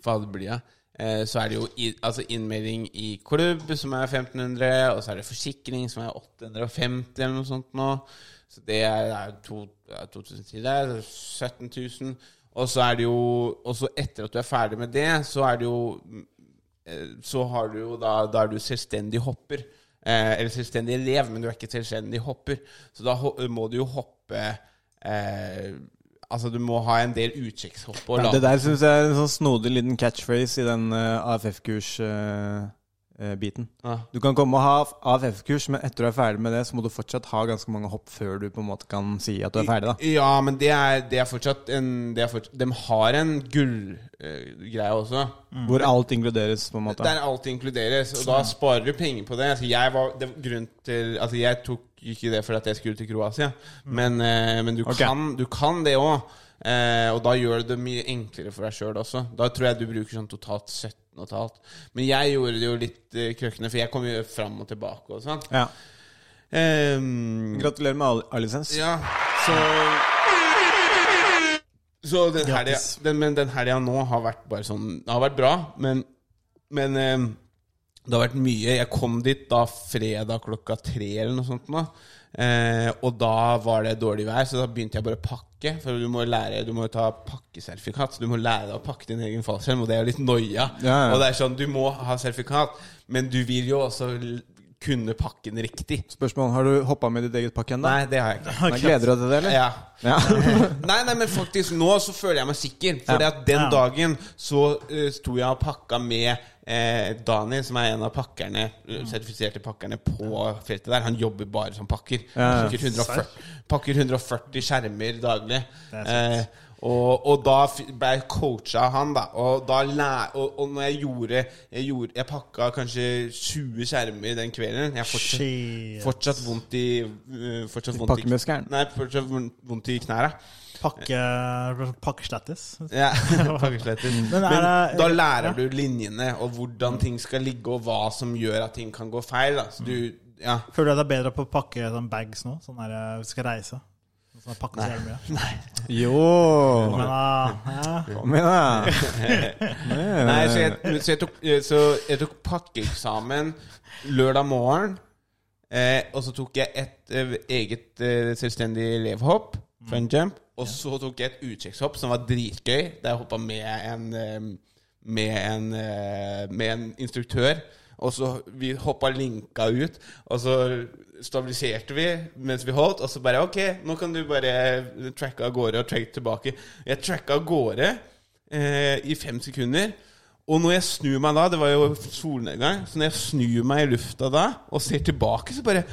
[SPEAKER 3] Fader blir jeg. Eh, så er det jo i, altså innmelding i klubb, som er 1500, og så er det forsikring, som er 850, eller noe sånt nå. Så det er, er to- ja, 2010 der, så 17 000. Og så er det jo Og så etter at du er ferdig med det, så er det jo eh, så har du jo da, da er du selvstendig hopper. Eh, eller selvstendig elev, men du er ikke selvstendig hopper. Så da ho må du jo hoppe eh, Altså, du må ha en del utkikkshopp. og
[SPEAKER 2] Ja,
[SPEAKER 3] la-
[SPEAKER 2] det der syns jeg er en sånn snodig liten catchphrase i den eh, AFF-kurs-biten.
[SPEAKER 3] Ja.
[SPEAKER 2] eh, Du kan komme og ha AFF-kurs, men etter du er ferdig med det, så må du fortsatt ha ganske mange hopp før du på en måte kan si at du er ferdig, da.
[SPEAKER 3] Ja, men det er, det er fortsatt en det er fortsatt, De har en gullgreie greie også.
[SPEAKER 2] Hvor alt inkluderes, på en måte.
[SPEAKER 3] Der alt inkluderes, og da sparer du penger på det. Altså, jeg, var, det var grunnen til, altså, jeg tok ikke det fordi at jeg skulle til Kroatia, men, eh, men du,
[SPEAKER 2] Mm. Ok.
[SPEAKER 3] kan, du kan det òg. Eh, og da gjør du det mye enklere for deg sjøl også. Da tror jeg du bruker sånn totalt 17,5. Men jeg gjorde det jo litt eh, krøkkende, for jeg kom jo fram og tilbake og sånn.
[SPEAKER 2] Ja.
[SPEAKER 3] Ehm,
[SPEAKER 2] Gratulerer med al- A-lisens.
[SPEAKER 3] ja, så Så den helga
[SPEAKER 1] Grattis.
[SPEAKER 3] den, Men den helga nå har vært bare sånn Det har vært bra, men, men eh, det har vært mye. Jeg kom dit da fredag klokka tre eller noe sånt. Da. Eh, og da var det dårlig vær, så da begynte jeg bare å pakke. For du må lære Du må jo ta pakkesertifikat, så du må lære deg å pakke din egen fallskjerm. Og det er jo litt noia.
[SPEAKER 2] Ja, ja.
[SPEAKER 3] Og det er sånn, du må ha sertifikat, men du vil jo også l- kunne pakke den riktig.
[SPEAKER 2] Spørsmål, har du hoppa med ditt eget pakke ennå?
[SPEAKER 3] Nei, det har jeg ikke.
[SPEAKER 2] Gleder du deg til det, eller?
[SPEAKER 3] Ja. nei, nei, men faktisk nå så føler jeg meg sikker. For at den
[SPEAKER 1] Ja.
[SPEAKER 3] dagen så uh, sto jeg og pakka med eh, Dani, som er en av pakkerne eh, sertifiserte pakkerne på feltet der. Han jobber bare som pakker.
[SPEAKER 2] Ja, ja.
[SPEAKER 3] Pakker 140, pakker 140 skjermer daglig.
[SPEAKER 1] Det er
[SPEAKER 3] Eh, og, og da f- ble jeg coacha av han, da. Og, da læ- og, og når jeg gjorde Jeg, gjorde, jeg pakka kanskje 20 skjermer den kvelden. Jeg fortsatt,
[SPEAKER 1] Shit.
[SPEAKER 3] Fortsatt vondt i eh, fortsatt vondt i-
[SPEAKER 2] pakkemuskelen.
[SPEAKER 3] Nei, fortsatt von- vondt i knæra.
[SPEAKER 1] Pakke, pakkeslettis.
[SPEAKER 3] Ja, pakkesletter.
[SPEAKER 1] Men
[SPEAKER 3] Men,
[SPEAKER 1] er det-
[SPEAKER 3] da lærer
[SPEAKER 1] ja.
[SPEAKER 3] du linjene og hvordan ting skal ligge, og hva som gjør at ting kan gå feil. Da. Så du, ja.
[SPEAKER 1] Føler du at det er bedre på å pakke sånn bags nå? Sånn der eh, hvis du skal reise? Sånn at pakke så jævlig mye.
[SPEAKER 2] Jo!
[SPEAKER 1] Men, eh, ja.
[SPEAKER 2] Kom igjen, da.
[SPEAKER 3] Nei, så jeg, men så jeg, tok, eh, så jeg tok pakkeeksamen lørdag morgen. Eh, og så tok jeg et eh, eget eh, selvstendig elevhopp, fun jump. Og så tok jeg et utkikkshopp som var dritgøy, der jeg hoppa med en, eh, med en, eh, med en instruktør. Og så Vi hoppa linka ut, og så stabiliserte vi mens vi holdt. Og så bare OK, nå kan du bare tracke av gårde og tracke tilbake. Jeg tracka av gårde eh, i fem sekunder. Og når jeg snur meg da, det var jo solnedgang, så når jeg snur meg i lufta da og ser tilbake, så bare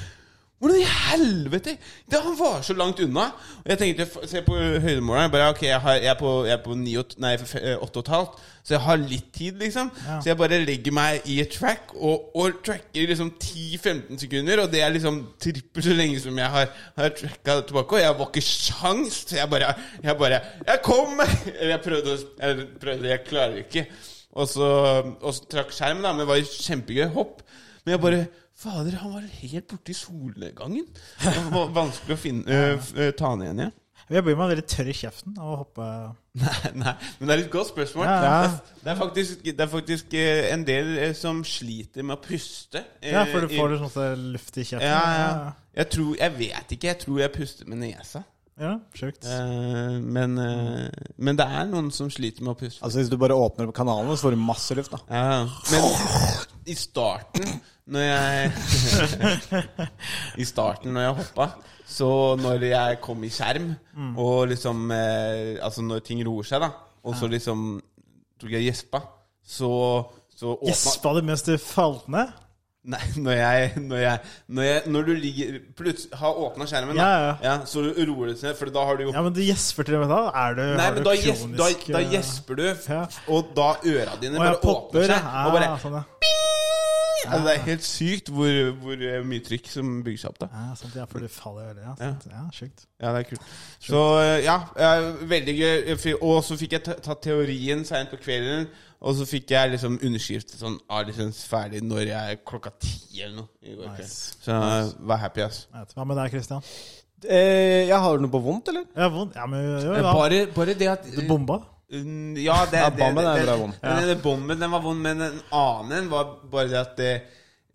[SPEAKER 3] Hvordan i helvete? Det, han var så langt unna. Og jeg tenkte, f- se på høydemåleren. jeg Bare, ok, jeg, har, jeg er på, jeg er på ni og, t- nei, f- eh, åtte og et halvt, så jeg har litt tid, liksom. Så jeg bare legger meg i et track og, og tracker liksom 10-15 sekunder. Og det er liksom trippelt så lenge som jeg har, har tracka tilbake. Og jeg var ikke sjans, så jeg bare Jeg bare Jeg kom! Eller jeg prøvde, å- jeg prøvde, jeg klarer ikke. Og så, og så trakk skjermen, da, men det var jo kjempegøy hopp. Men jeg bare Fader, han var helt borte i solnedgangen. Det var vanskelig å finne, øh, f- øh, ta han igjen igjen.
[SPEAKER 1] Jeg blir meg veldig tørr i kjeften av å hoppe.
[SPEAKER 3] Nei, nei, men det er et godt spørsmål.
[SPEAKER 1] Ja.
[SPEAKER 3] Det, er, det, er faktisk, det er faktisk eh, en del eh, som sliter med å puste. eh,
[SPEAKER 1] Ja, for du
[SPEAKER 3] i-
[SPEAKER 1] får litt sånn sånn luft i kjeften.
[SPEAKER 3] ja, ja. Jeg, tror, jeg vet ikke. Jeg tror jeg puster med nesa.
[SPEAKER 1] ja sjukt.
[SPEAKER 3] Eh, men, eh, men det er noen som sliter med å puste.
[SPEAKER 2] Altså, hvis du bare åpner opp kanalen, så får du masse luft, da.
[SPEAKER 3] Ja, men i starten, når jeg I starten når jeg hoppa, så når jeg kom i skjerm,
[SPEAKER 1] Mm.
[SPEAKER 3] og liksom eh, Altså når ting roer seg, da, og så liksom tok jeg gjespa, så, så åpna
[SPEAKER 1] Gjespa du mens du falt ned?
[SPEAKER 3] Nei, når jeg Når, jeg, når, jeg, når du ligger Plutselig har åpna skjermen, da,
[SPEAKER 1] Ja, ja.
[SPEAKER 3] så roer det seg, for da har du jo
[SPEAKER 1] Ja, men du gjesper til og med da. Er du,
[SPEAKER 3] Nei,
[SPEAKER 1] har
[SPEAKER 3] men
[SPEAKER 1] du
[SPEAKER 3] da, gjes, da,
[SPEAKER 1] kronisk,
[SPEAKER 3] da
[SPEAKER 1] eh,
[SPEAKER 3] gjesper du,
[SPEAKER 1] Ja.
[SPEAKER 3] og da øra dine
[SPEAKER 1] Å,
[SPEAKER 3] bare
[SPEAKER 1] jeg popper.
[SPEAKER 3] åpner seg.
[SPEAKER 1] Ja, Ah,
[SPEAKER 3] Og bare
[SPEAKER 1] sånn, ja.
[SPEAKER 3] Altså, det er helt sykt hvor, hvor eh, mye trykk som bygger seg opp. da
[SPEAKER 1] Ja, sant, ja, for du faller veldig. Ja, sant. ja sjukt.
[SPEAKER 3] Ja, det er kult. Så eh, ja, eh, veldig gøy. Jeg fi- Og så fikk jeg ta- tatt teorien seint på kvelden. Og så fikk jeg liksom underskriftet sånn A-lisens ferdig når jeg er klokka ti eller noe. i går kveld.
[SPEAKER 1] Nice.
[SPEAKER 3] Så eh, vær happy, ass.
[SPEAKER 1] Jeg vet. Hva med deg, Christian?
[SPEAKER 2] Eh, jeg har du noe på vondt, eller?
[SPEAKER 1] Jeg har vondt. Ja, men jo, ja.
[SPEAKER 3] Bare, det at
[SPEAKER 1] Du bomba?
[SPEAKER 3] Mm, Ja, det,
[SPEAKER 2] Ja,
[SPEAKER 3] det,
[SPEAKER 2] bomben
[SPEAKER 3] det,
[SPEAKER 2] er
[SPEAKER 3] det,
[SPEAKER 2] bra vond.
[SPEAKER 3] men Den bomben den var vond, men en annen en var bare det at eh,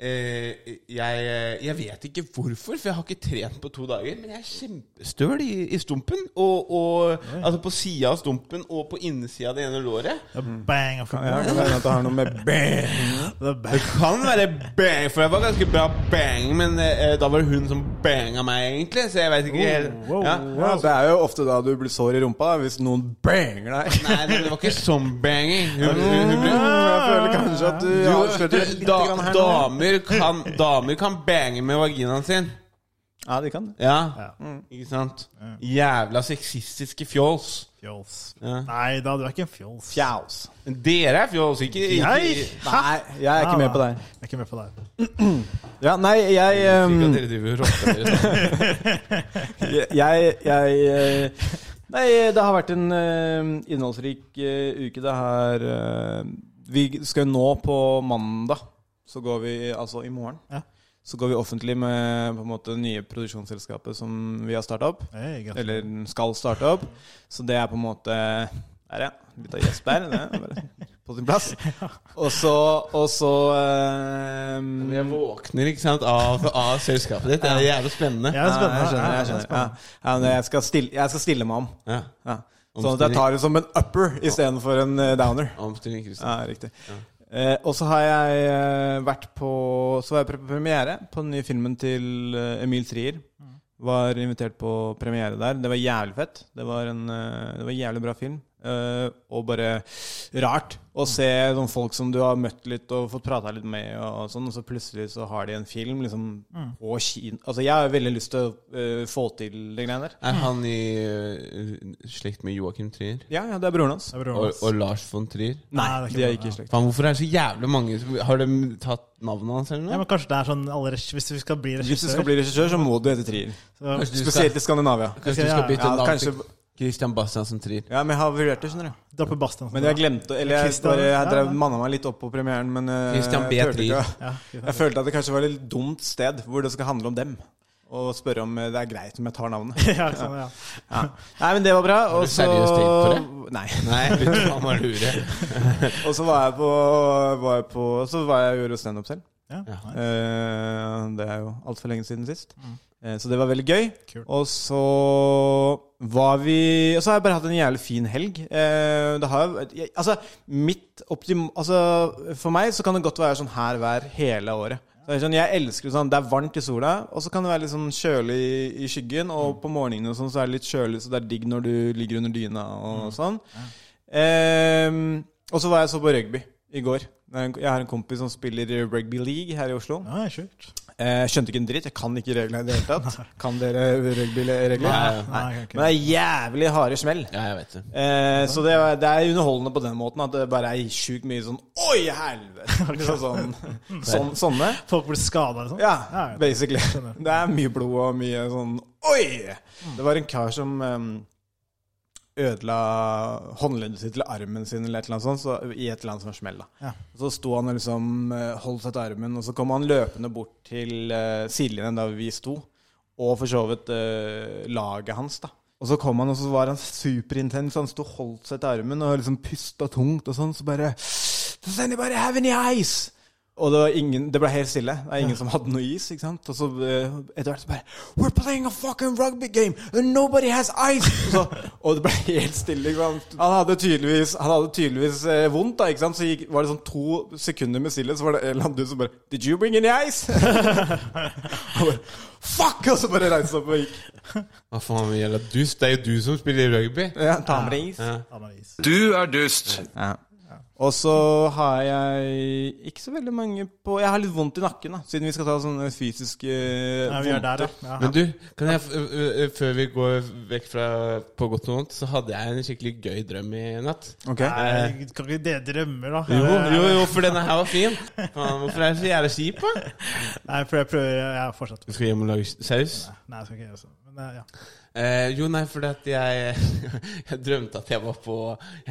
[SPEAKER 3] jeg, eh, jeg vet ikke hvorfor, for jeg har ikke trent på to dager. Men jeg er kjempestøl i, i stumpen. Og, og, altså på sida av stumpen og på innsida av det ene låret.
[SPEAKER 1] Ja, Bang! og-
[SPEAKER 2] Ja, kan hende at det har noe med bang
[SPEAKER 1] Det er bang.
[SPEAKER 3] Eh, Det kan være bang, for jeg var ganske bra bang, men eh, da var det hun som banga meg, egentlig. Så jeg veit
[SPEAKER 2] Oh,
[SPEAKER 3] ikke helt
[SPEAKER 1] wow,
[SPEAKER 3] ja.
[SPEAKER 2] ja, Det er jo ofte da du blir sår i rumpa, da, hvis noen banger deg.
[SPEAKER 3] Nei, det var ikke sånn banging. Hun, hun, hun, hun,
[SPEAKER 2] Jeg føler kanskje at du avslørte litt
[SPEAKER 3] da,
[SPEAKER 2] grann her nå.
[SPEAKER 3] damer, kan, damer kan bange med vaginaen sin.
[SPEAKER 2] Ja, de kan det.
[SPEAKER 3] Ja, ikke sant? Jævla sexistiske fjols.
[SPEAKER 1] Fjols.
[SPEAKER 3] Ja.
[SPEAKER 1] Nei da, du er ikke en fjols.
[SPEAKER 2] Fjaus.
[SPEAKER 3] Dere er fjols, ikke
[SPEAKER 1] Jeg?
[SPEAKER 3] ikke-
[SPEAKER 2] Nei, jeg er ikke med på deg.
[SPEAKER 1] Jeg er ikke med på deg.
[SPEAKER 2] Ja, nei, jeg
[SPEAKER 3] Ikke at
[SPEAKER 2] ehm,
[SPEAKER 3] dere driver og rotter dere sånn. sammen.
[SPEAKER 2] Jeg, jeg, jeg eh, Nei, det har vært en eh, innholdsrik eh, uke. Det her eh, Vi skal nå på mandag, så går vi altså i morgen.
[SPEAKER 1] Ja.
[SPEAKER 2] Så går vi offentlig med på en måte nye produksjonsselskapet som vi har starta opp.
[SPEAKER 1] Hey, gratulerer.
[SPEAKER 2] Eller skal starte opp. Så det er på en måte Der, ja. Litt av gjesp der. Det er bare på sin plass. Og så Og så eh,
[SPEAKER 3] Jeg våkner ikke sant, av, av selskapet ditt. Det er jævlig spennende.
[SPEAKER 1] Ja, det er
[SPEAKER 2] Ja,
[SPEAKER 1] spennende.
[SPEAKER 2] Jeg skjønner.
[SPEAKER 1] Ja, det er
[SPEAKER 2] Jeg, skjønner. Ja.
[SPEAKER 1] spennende.
[SPEAKER 2] Ja, men jeg, skal stille, jeg skal stille meg om.
[SPEAKER 3] Ja.
[SPEAKER 2] Ja. Sånn at jeg tar det som en upper istedenfor en eh, downer.
[SPEAKER 3] Omstilling,
[SPEAKER 2] Ja,
[SPEAKER 3] Kristian.
[SPEAKER 2] riktig. Eh, og så har jeg eh, vært på Så var jeg på premiere på den nye filmen til eh, Emil Trier. Var invitert på premiere der. Det var jævlig fett. Det var en, eh, det var en jævlig bra film. Eh, og bare rart å se sånne folk som du har møtt litt og fått prata litt med, og, og sånn, og så plutselig så har de en film liksom på Kina Altså, jeg har veldig lyst til å eh, få til de greiene der.
[SPEAKER 3] Er han i eh, slekt med Joakim Trier?
[SPEAKER 2] Ja, ja, det er broren hans.
[SPEAKER 1] Det er broren
[SPEAKER 3] Og,
[SPEAKER 1] hans.
[SPEAKER 3] og Lars von Trier?
[SPEAKER 2] Nei,
[SPEAKER 1] Nei, det er ikke
[SPEAKER 2] de er
[SPEAKER 1] broren,
[SPEAKER 2] ikke i slekt.
[SPEAKER 3] Faen, hvorfor er det så jævlig mange Har de tatt navnet hans, eller noe?
[SPEAKER 1] Ja, men kanskje det er sånn alle regi- Hvis du skal bli
[SPEAKER 2] Hvis du
[SPEAKER 1] regissør
[SPEAKER 2] skal bli regissør, så må du hete Trier.
[SPEAKER 1] så-
[SPEAKER 3] Kanskje du skal,
[SPEAKER 2] Spesielt i Skandinavia.
[SPEAKER 3] kanskje du skal bytte
[SPEAKER 2] Ja,
[SPEAKER 3] navn
[SPEAKER 2] kanskje-
[SPEAKER 3] til Christian Bastiansen Trier?
[SPEAKER 2] Ja, men jeg har vurdert det, skjønner du.
[SPEAKER 1] Droppe Bastian.
[SPEAKER 2] Men jeg glemte Eller jeg,
[SPEAKER 1] Christian,
[SPEAKER 2] bare, jeg
[SPEAKER 1] ja,
[SPEAKER 2] drev
[SPEAKER 1] ja.
[SPEAKER 2] manna meg litt opp på premieren, men eh,
[SPEAKER 3] Christian B.
[SPEAKER 2] jeg turte
[SPEAKER 3] Trier.
[SPEAKER 2] ikke å- Jeg følte at det kanskje var et litt dumt sted hvor det skal handle om dem. Og spørre om eh, det er greit om jeg tar navnet.
[SPEAKER 1] ja, ikke sant, ja.
[SPEAKER 2] Ja. Nei, men det var bra. Og så
[SPEAKER 3] seriøst tenkt
[SPEAKER 2] Nei.
[SPEAKER 3] Nei, vet du faen meg lure.
[SPEAKER 2] Og så var jeg på, var jeg på Så var jeg og gjorde standup selv.
[SPEAKER 1] Ja, nice.
[SPEAKER 2] Eh, det er jo altfor lenge siden sist. Eh, så det var veldig gøy.
[SPEAKER 1] Kult.
[SPEAKER 2] Og så var vi Og så har jeg bare hatt en jævlig fin helg. Eh, det har jo jeg- Altså, mitt optim... Altså, for meg så kan det godt være sånn her vær hele året. Så det er sånn, jeg elsker det sånn, Det er varmt i sola, og så kan det være litt sånn kjølig i- i skyggen. Og på morgenene og sånn, så er det litt kjølig, så det er digg når du ligger under dyna og sånn. Ehm, og så var jeg så på rugby i går. Jeg har en kompis som spiller i rugby league her i Oslo.
[SPEAKER 1] Ja, sjukt.
[SPEAKER 2] Eh, skjønte ikke en dritt. Jeg kan ikke reglene i det hele tatt. Kan dere rugbyregler?
[SPEAKER 3] Nei,
[SPEAKER 1] nei, jeg kan ikke.
[SPEAKER 2] Men det er jævlig harde smell.
[SPEAKER 3] Ja, jeg vet det.
[SPEAKER 2] Eh, så det, er- det er underholdende på den måten at det bare er sjukt mye sånn Oi, helvete! Liksom sånn, sånn, sånne.
[SPEAKER 1] Folk blir skada, liksom?
[SPEAKER 2] sånn. Ja,
[SPEAKER 1] ja.
[SPEAKER 2] basically. Det er mye blod og mye sånn Oi! Det var en kar som em, ødela håndleddet sitt eller armen sin eller et eller annet sånt, så, i et eller annet sånt smell. da.
[SPEAKER 1] Ja.
[SPEAKER 2] Så sto han og liksom eh, holdt seg til armen, og så kom han løpende bort til eh, sidelinjen der vi sto, og for så vidt eh, laget hans, da. Og så kom han, og så var han superintens. Han sto og holdt seg til armen og liksom pusta tungt og sånn. Så bare Does anybody have any ice? Og det, var ingen, det ble helt stille. Det er ingen som hadde noe is. ikke sant? Og så eh, etter hvert så bare We're playing a fucking rugby game and nobody has ice! Og, så, og det ble helt stille. ikke sant? Han hadde tydeligvis, han hadde tydeligvis eh, vondt, da. ikke sant? Så gikk, var det sånn to sekunder med stillhet, så var det en eller annen du som bare Did you bring any ice? Og bare, Fuck! Og så bare reiste han opp og gikk.
[SPEAKER 3] Hva faen, vi gjelder dust? Det er jo du som spiller rugby.
[SPEAKER 2] Ja, ta med deg is.
[SPEAKER 1] Ja, men is.
[SPEAKER 7] Du er dust.
[SPEAKER 2] Ja. Og så har jeg ikke så veldig mange på Jeg har litt vondt i nakken, da siden vi skal ta sånne fysiske
[SPEAKER 1] Nei, vi er der, ja.
[SPEAKER 3] Men du, kan jeg, f- ø- ø- før vi går vekk fra på godt og vondt, så hadde jeg en skikkelig gøy drøm i natt.
[SPEAKER 2] Ok.
[SPEAKER 1] Nei, kan ikke dere drømme, da?
[SPEAKER 3] Jo, jo, jo, for denne her var fin. Faen, hvorfor er det så jævla kjip, da?
[SPEAKER 1] Nei, for jeg prøver Jeg fortsetter.
[SPEAKER 3] Du skal hjem og lage s- saus?
[SPEAKER 1] Nei, jeg skal ikke gjøre sånn. Men eh, ja.
[SPEAKER 3] Eh, jo, nei, fordi at jeg, jeg drømte at jeg var på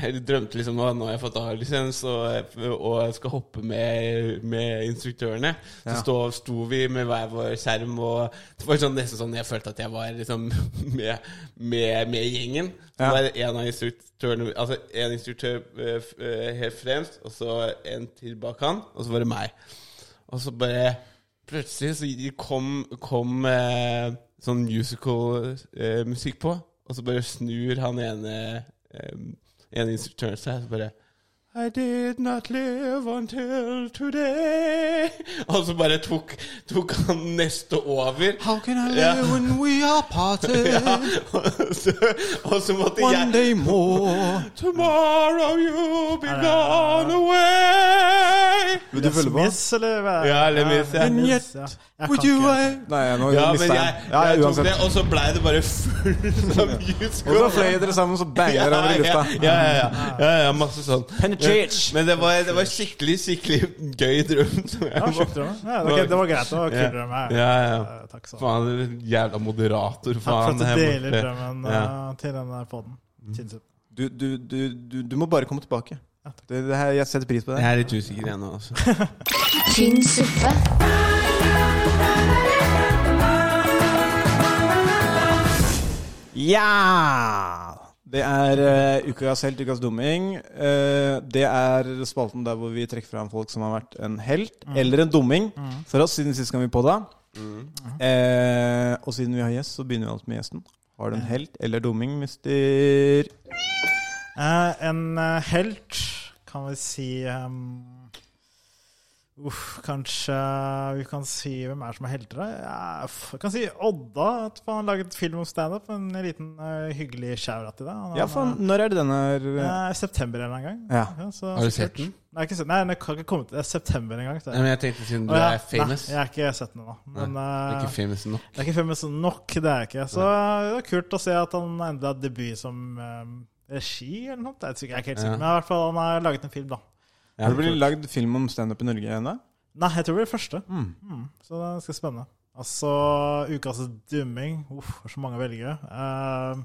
[SPEAKER 3] Jeg drømte liksom at nå har jeg fått A-lisens og, og jeg skal hoppe med, med instruktørene. Så stå, sto vi med hver vår skjerm, og det var sånn, nesten sånn jeg følte at jeg var liksom med, med, med gjengen. Så
[SPEAKER 2] Ja.
[SPEAKER 3] var det en av instruktørene Altså en instruktør eh, f- eh, helt fremst, og så en til bak han, og så var det meg. Og så bare Plutselig så kom, kom eh, sånn musical-musikk på, og så bare snur han ene, eh, ene instruktøren seg, så bare I did not live until today Og så bare tok, tok han neste over.
[SPEAKER 2] How can I
[SPEAKER 3] Ja.
[SPEAKER 2] live when we are parted?
[SPEAKER 3] Ja, og så, og så måtte
[SPEAKER 2] One
[SPEAKER 3] jeg
[SPEAKER 2] day Ah, more.
[SPEAKER 3] Tomorrow you'll be gone away
[SPEAKER 2] Vil du følge på?
[SPEAKER 1] Miss, eller hva?
[SPEAKER 3] Ja, eller miss, ja.
[SPEAKER 1] miss, ja. Jeg
[SPEAKER 2] Would
[SPEAKER 1] kan
[SPEAKER 2] you eh?
[SPEAKER 1] ikke.
[SPEAKER 2] I- Nei, nå
[SPEAKER 3] Ja, men
[SPEAKER 2] mista
[SPEAKER 3] jeg,
[SPEAKER 2] jeg den. Ja,
[SPEAKER 3] jeg
[SPEAKER 2] ja,
[SPEAKER 3] tok det,
[SPEAKER 2] uansett.
[SPEAKER 3] og så blei det bare fullt av musical.
[SPEAKER 2] Og så fløy dere sammen, så banger dere over i
[SPEAKER 3] ja,
[SPEAKER 2] lufta.
[SPEAKER 3] ja, ja, ja, ja, masse sånn.
[SPEAKER 2] Penetrate.
[SPEAKER 3] Men det var, det var skikkelig, skikkelig gøy drøm. som jeg
[SPEAKER 1] Ja,
[SPEAKER 3] var-
[SPEAKER 1] sjukt drømme. Ja, det, var- det var greit. Det var kul drøm.
[SPEAKER 3] Ja,
[SPEAKER 1] her.
[SPEAKER 3] ja.
[SPEAKER 1] Eh, Takk sånn.
[SPEAKER 3] Faen, jævla moderator,
[SPEAKER 1] Takk for at
[SPEAKER 3] faen.
[SPEAKER 1] du
[SPEAKER 3] her
[SPEAKER 1] deler
[SPEAKER 3] borte.
[SPEAKER 1] drømmen
[SPEAKER 3] Ja. Mm.
[SPEAKER 1] eh, til denne poden.
[SPEAKER 2] Du, du, du, du, du må bare komme tilbake. Det, det her, jeg setter pris på det.
[SPEAKER 3] Jeg er litt usikker igjen nå, altså.
[SPEAKER 4] Tynn suppe.
[SPEAKER 2] Ja! Det er eh, ukas helt, ukas dumming. Eh, det er spalten der hvor vi trekker fram folk som har vært en helt eller en dumming for oss siden sist gang vi podda. Mm. Eh, og siden vi har gjest, så begynner vi alltid med gjesten. Har du en helt eller dumming, mister
[SPEAKER 1] Eh, en eh, helt kan vi si ehm, Uff, kanskje vi kan si Hvem er det som er helter, da? Ja, f- jeg kan si Odda. At han laget film om standup. En liten eh, hyggelig shout-out til deg. Han-
[SPEAKER 2] Ja, faen, når er det den er
[SPEAKER 1] han, eh, September en eller annen gang.
[SPEAKER 2] Ja.
[SPEAKER 1] så-
[SPEAKER 3] Har du
[SPEAKER 1] så
[SPEAKER 3] sett
[SPEAKER 1] kult.
[SPEAKER 3] den?
[SPEAKER 1] Nei, ikke sett, nei, den har ikke kommet Det er september en gang. så-
[SPEAKER 3] Nei, men jeg tenkte siden du
[SPEAKER 1] Å, ja.
[SPEAKER 3] er famous.
[SPEAKER 1] Nei, jeg har ikke sett den ennå. Men
[SPEAKER 3] Du er
[SPEAKER 1] eh,
[SPEAKER 3] ikke famous nok.
[SPEAKER 1] det er ikke famous nok, det er jeg ikke. Så det var kult å se at han endelig har debut som eh, regi eller noe. Jeg er ikke- jeg er ikke helt sikker,
[SPEAKER 3] Ja.
[SPEAKER 1] men i hvert fall han har laget en film, da.
[SPEAKER 2] Har det blitt lagd film om standup i Norge ennå?
[SPEAKER 1] Nei, jeg tror det blir det første. Mm. Så det skal spennende. Altså, ukas dumming. Uff, det er så mange å velge. Eh,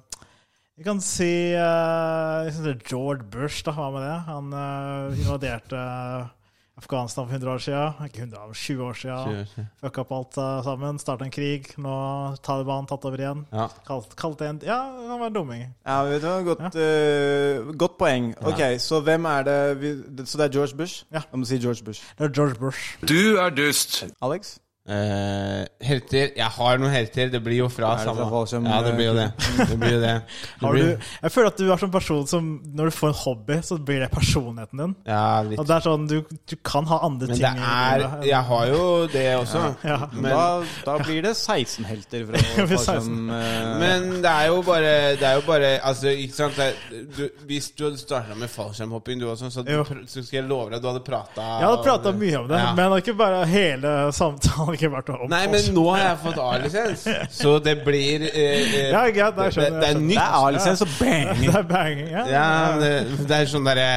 [SPEAKER 1] vi kan si eh, jeg synes det er George Bush, da. Hva med det? Han eh, invaderte eh, Afghanistan for 100 år siden. Ikke 100, men 20 år siden. Fucka opp alt eh, sammen. Starta en krig. Nå har Taliban tatt over igjen.
[SPEAKER 3] Ja.
[SPEAKER 1] Kalt, kalt det en Ja, det kan være dumming.
[SPEAKER 2] Ja, vet du hva, godt, eh, godt poeng. Ok, så hvem er det vi, Så det er George Bush?
[SPEAKER 1] Ja.
[SPEAKER 2] Jeg må si George Bush.
[SPEAKER 1] Det er George Bush.
[SPEAKER 7] Du er dust.
[SPEAKER 2] Alex?
[SPEAKER 3] Eh, helter Jeg har noen helter. Det blir jo fra
[SPEAKER 2] Er det
[SPEAKER 3] samme
[SPEAKER 2] fra eh, Valsheim?
[SPEAKER 3] Ja, det blir jo det. Det blir jo det. det
[SPEAKER 1] Har du,
[SPEAKER 3] blir,
[SPEAKER 1] jeg føler at du er sånn person som når du får en hobby, så blir det personligheten din.
[SPEAKER 3] ja, litt.
[SPEAKER 1] Og det er sånn, du, du kan ha andre
[SPEAKER 3] Men
[SPEAKER 1] ting
[SPEAKER 3] det er Jeg har jo det også.
[SPEAKER 1] Ja.
[SPEAKER 3] Men,
[SPEAKER 2] da, da blir det 16 helter fra
[SPEAKER 1] blir
[SPEAKER 2] Farsam,
[SPEAKER 1] 16.
[SPEAKER 2] eh,
[SPEAKER 3] men det er jo bare Det er jo bare Altså, ikke sant det er- du, Hvis du hadde starta med fallskjermhopping, du også, så,
[SPEAKER 1] Jo.
[SPEAKER 3] pr- så skal jeg love deg at du hadde prata
[SPEAKER 1] Jeg hadde prata mye om det, men det har ikke bare hele samtalen har ikke vært om
[SPEAKER 3] Nei, men nå har jeg fått A-lisens, så det blir eh, eh,
[SPEAKER 1] Ja, greit, da skjønner jeg,
[SPEAKER 3] det, det, det er
[SPEAKER 1] skjønner.
[SPEAKER 2] Det
[SPEAKER 3] nytt.
[SPEAKER 2] er A-lisens og bang!
[SPEAKER 1] Det er banging, ja.
[SPEAKER 3] Ja, men det, det er sånn derre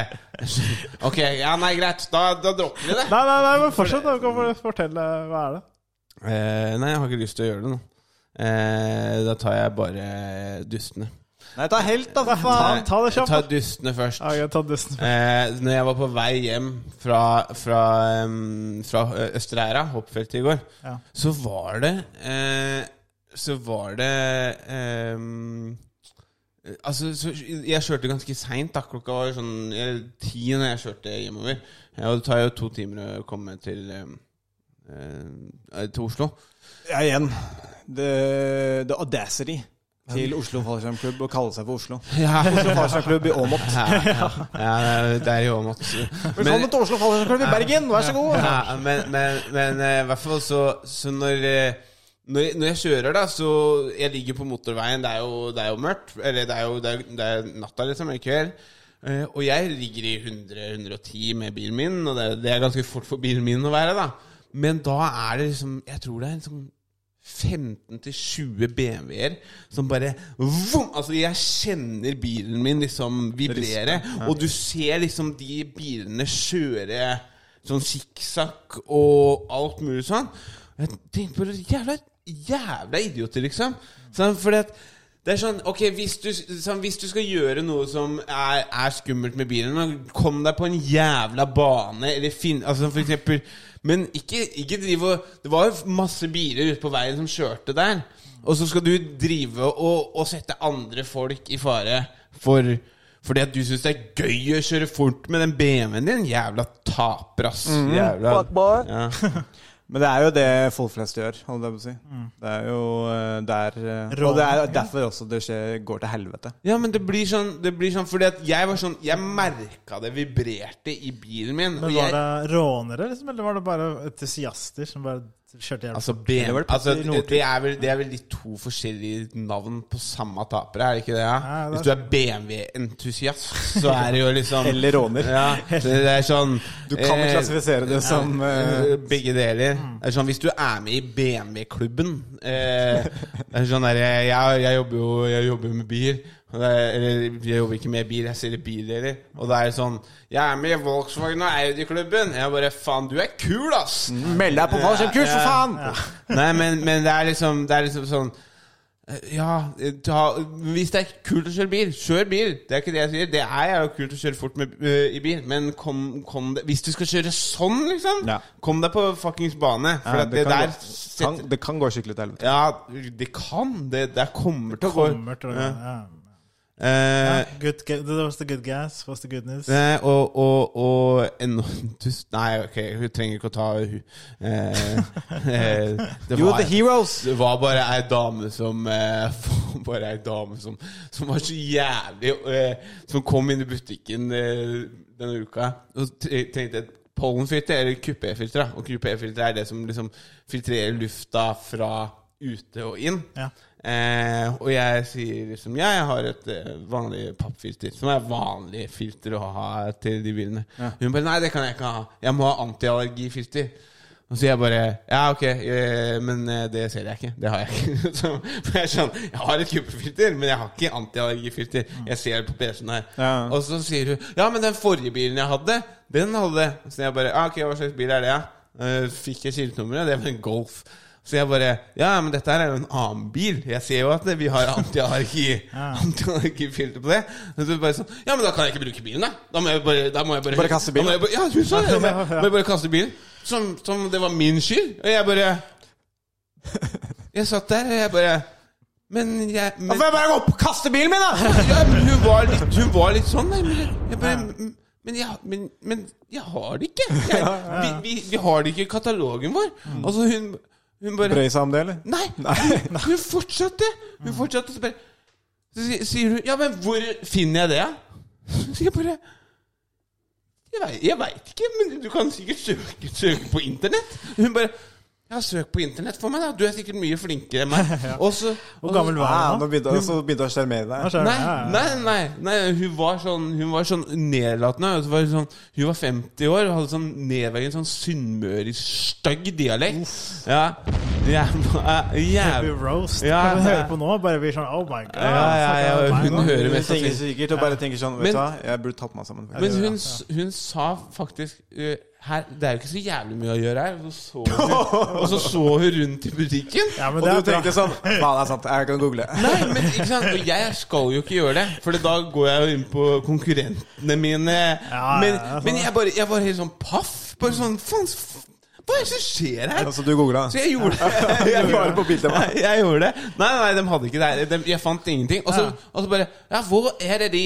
[SPEAKER 3] Ok, ja, nei, greit. Da, da dropper vi det.
[SPEAKER 1] Nei, nei, nei, men fortsett. da, Du kan bare fortelle hva er det
[SPEAKER 3] Eh, nei, jeg har ikke lyst til å gjøre det nå. Eh, da tar jeg bare dustene.
[SPEAKER 2] Nei, ta helt, da, for
[SPEAKER 1] Nei.
[SPEAKER 2] faen!
[SPEAKER 1] ta det kjapt,
[SPEAKER 3] Jeg tar dustene først.
[SPEAKER 1] Ja, jeg tar dusten.
[SPEAKER 3] Eh, når jeg var på vei hjem fra, fra, em, fra eh, Østre Eira, hoppfeltet i går,
[SPEAKER 1] Ja.
[SPEAKER 3] så var det eh, Så var det em, eh, Altså, så, jeg kjørte ganske seint. da. Klokka var sånn eh, ti når jeg kjørte hjemover. Ja, og det tar jo to timer å komme til, em, eh, til Oslo.
[SPEAKER 2] Ja, igjen. The, the audacity til Oslo Fallskjermklubb å kalle seg for Oslo.
[SPEAKER 3] Ja,
[SPEAKER 2] Oslo Fallskjermklubb i Åmot.
[SPEAKER 3] ja, ja, det er jo Åmot.
[SPEAKER 1] sånn
[SPEAKER 2] Velkommen til Oslo Fallskjermklubb i Bergen, vær så god!
[SPEAKER 3] Ja, men, men, men eh, i hvert fall så, så når, eh, når, jeg- når jeg kjører, da, så Jeg ligger på motorveien, det er jo, det er jo mørkt. Eller det er jo det er, det er natta, liksom, eller kveld. Eh, Og jeg ligger i 100-110 med bilen min, og det, det er ganske fort for bilen min å være, da. Men da er det liksom Jeg tror det er en sånn 15-20 BMW-er som bare vom! Altså, jeg kjenner bilen min liksom vibrere, og du ser liksom de bilene kjøre sånn sikksakk og alt mulig sånn. Og Jeg tenkte på det jævla, jævla idioter, liksom. Sånn, fordi at det er sånn, ok, hvis du, sånn, hvis du skal gjøre noe som er, er skummelt med bilen, da, kom deg på en jævla bane, eller finn Altså for eksempel Men ikke, ikke drive og Det var jo masse biler ute på veien som kjørte der. Og så skal du drive og, og sette andre folk i fare for fordi at du syns det er gøy å kjøre fort med den BMW-en din. Jævla taper, ass. Jævla. Ja.
[SPEAKER 2] Men det er jo det folk flest gjør, holdt jeg på å si. Det er jo eh, der eh, Og det er derfor også det skjer, går til helvete.
[SPEAKER 3] Ja, men det blir sånn, det blir sånn Fordi at jeg var sånn Jeg merka det vibrerte i bilen min.
[SPEAKER 1] Men
[SPEAKER 3] og
[SPEAKER 1] var
[SPEAKER 3] jeg,
[SPEAKER 1] det rånere, liksom, eller var det bare entusiaster som bare kjørte hjem?
[SPEAKER 3] Altså, B-
[SPEAKER 2] var det
[SPEAKER 3] altså
[SPEAKER 2] Petter Northug?
[SPEAKER 3] det, er vel, det er vel de to forskjellige navn på samme tapere, er det ikke det? Ja?
[SPEAKER 1] Ja, det er
[SPEAKER 3] Hvis du er BMW-entusiast, så er det jo liksom
[SPEAKER 2] sånn- Eller råner.
[SPEAKER 3] ja, det, det er sånn
[SPEAKER 2] Du kan
[SPEAKER 3] eh,
[SPEAKER 2] klassifisere det som eh, Mm.
[SPEAKER 3] eh, Begge deler. Det er sånn, hvis du er med i BMW-klubben eh, Det er sånn der, jeg, jeg jobber jo jeg jobber med bil. og det er- Eller jeg jobber ikke med bil, jeg selger bildeler. Og det er sånn Jeg er med i Volkswagen og Audi-klubben. Jeg bare Faen, du er kul, ass!
[SPEAKER 2] Meld deg på fallskjermkurs, for faen!
[SPEAKER 3] Nei, men, men det, er liksom, det er liksom sånn eh, Ja, eh, ta, hvis det er kult å kjøre bil, kjør bil! Det er ikke det jeg sier. Det er jo kult å kjøre fort med, eh, i bil, men kom, kom deg Hvis du skal kjøre sånn, liksom,
[SPEAKER 2] Ja.
[SPEAKER 3] kom deg på fuckings bane.
[SPEAKER 2] Ja,
[SPEAKER 3] For at det,
[SPEAKER 2] kan
[SPEAKER 3] der
[SPEAKER 2] gå, kan,
[SPEAKER 3] setter,
[SPEAKER 2] det kan gå skikkelig til helvete.
[SPEAKER 3] Ja, det kan. Det der kommer til å gå
[SPEAKER 1] Kommer til å gå. Ja.
[SPEAKER 3] Eh,
[SPEAKER 1] Good, ge- that was the good guys, was the good news.
[SPEAKER 3] Nei, eh, og, og, og en, tus- Nei, ok, hun trenger ikke å ta hun. Eh, eh, det
[SPEAKER 2] You
[SPEAKER 3] var-
[SPEAKER 2] are the heroes.
[SPEAKER 3] Det var bare ei dame som eh, Bare ei dame som, som var så jævlig eh, Som kom inn i butikken eh, denne uka og tre- trengte et pollenfilter, eller kupéfilter. da. Og kupéfilter er det som liksom filtrerer lufta fra ute og inn.
[SPEAKER 1] Ja.
[SPEAKER 3] Eh, og jeg sier liksom Ja, jeg har et eh, vanlig pappfilter, som er vanlig filter å ha til de bilene. Hun bare Nei, det kan jeg ikke ha. Jeg må ha antiallergifilter. Og så sier jeg bare Ja, ok, eh, men eh, det ser jeg ikke. Det har jeg ikke. Så, for jeg er sånn Jeg har et kuppefilter, men jeg har ikke antiallergifilter. Jeg ser det på PC-en her.
[SPEAKER 2] Ja.
[SPEAKER 3] Og så sier hun Ja, men den forrige bilen jeg hadde, den hadde det.» Så jeg bare ah, Ok, hva slags bil er det, ja? Eh, fikk jeg skiltnummeret? Det var en Golf. Så jeg bare Ja, men dette her er jo en annen bil. Jeg ser jo at det- vi har antiallergi Antiallergifilter på det. Og så bare sånn Ja, men da kan jeg ikke bruke bilen, da. Da må jeg bare, da må jeg bare,
[SPEAKER 2] Bare kaste bilen.
[SPEAKER 3] Da må jeg bare, ja, hun sa det. Da må jeg- må jeg bare kaste bilen. Som, som det var min skyld. Og jeg bare Jeg satt der, og jeg bare Men jeg men,
[SPEAKER 2] Da får jeg bare gå opp og kaste bilen min, da!
[SPEAKER 3] ja, men hun var litt, hun var litt sånn, nei, men jeg, jeg bare men, men, jeg, men, men jeg har det ikke. Jeg, vi, vi, vi har det ikke i katalogen vår. Altså, hun, hun bare
[SPEAKER 2] Brøy seg om det, eller?
[SPEAKER 3] Nei! Hun, hun fortsatte. Hun fortsatte så bare Så si- sier hun Ja, men hvor finner jeg det, da? Så jeg bare Jeg vei- Jeg veit ikke, men du kan sikkert søke, søke på internett. Hun bare Ja, søk på internett for meg, da. Du er sikkert mye flinkere enn meg. Og så
[SPEAKER 1] Hvor gammel var
[SPEAKER 2] Ah,
[SPEAKER 1] han da?
[SPEAKER 2] nå begynte og så begynte jeg å sjarmere
[SPEAKER 1] Hva
[SPEAKER 2] deg.
[SPEAKER 1] skjer?
[SPEAKER 3] Nei,
[SPEAKER 1] Ja, ja.
[SPEAKER 3] nei, nei, nei hun, var sånn, hun var sånn nedlatende. og så var hun sånn, hun var 50 år og hadde sånn nedverdigende sånn sunnmørisk-stygg dialekt. Ja, jævla, eh,
[SPEAKER 1] Happy
[SPEAKER 3] jævla,
[SPEAKER 1] roast.
[SPEAKER 3] Ja,
[SPEAKER 1] kan du
[SPEAKER 3] ja.
[SPEAKER 1] høre på nå? Bare blir sånn Oh my god.
[SPEAKER 3] ja, ja, ja,
[SPEAKER 1] fuck, oh my
[SPEAKER 3] hun
[SPEAKER 1] god.
[SPEAKER 3] hører
[SPEAKER 2] Du
[SPEAKER 3] mest
[SPEAKER 2] tenker
[SPEAKER 3] sannsynlig
[SPEAKER 2] sikkert og bare tenker sånn
[SPEAKER 3] Men-
[SPEAKER 2] Vet du hva, jeg burde tatt meg sammen.
[SPEAKER 3] Men hun, s- hun sa faktisk eh, her, Det er jo ikke så jævlig mye å gjøre her. Og så så hun, og så så hun rundt i butikken.
[SPEAKER 1] Ja, men
[SPEAKER 2] Og
[SPEAKER 1] det
[SPEAKER 2] du
[SPEAKER 1] er bra.
[SPEAKER 2] tenkte sånn Faen, det er sant. Jeg kan google.
[SPEAKER 3] Nei, men ikke sant? Og jeg skal jo ikke gjøre det, for da går jeg jo inn på konkurrentene mine.
[SPEAKER 1] ja,
[SPEAKER 3] men
[SPEAKER 1] ja, sånn.
[SPEAKER 3] men jeg, bare, jeg var helt sånn paff. Bare sånn Faen, s- hva er det som skjer her?
[SPEAKER 2] Altså, du googla?
[SPEAKER 3] Så jeg gjorde det. Jeg
[SPEAKER 2] Bare på bildet, hva?
[SPEAKER 3] Nei, jeg gjorde det. Nei, nei, de hadde ikke det. her. De, jeg fant ingenting. Og så, og så bare Ja, hvor er det de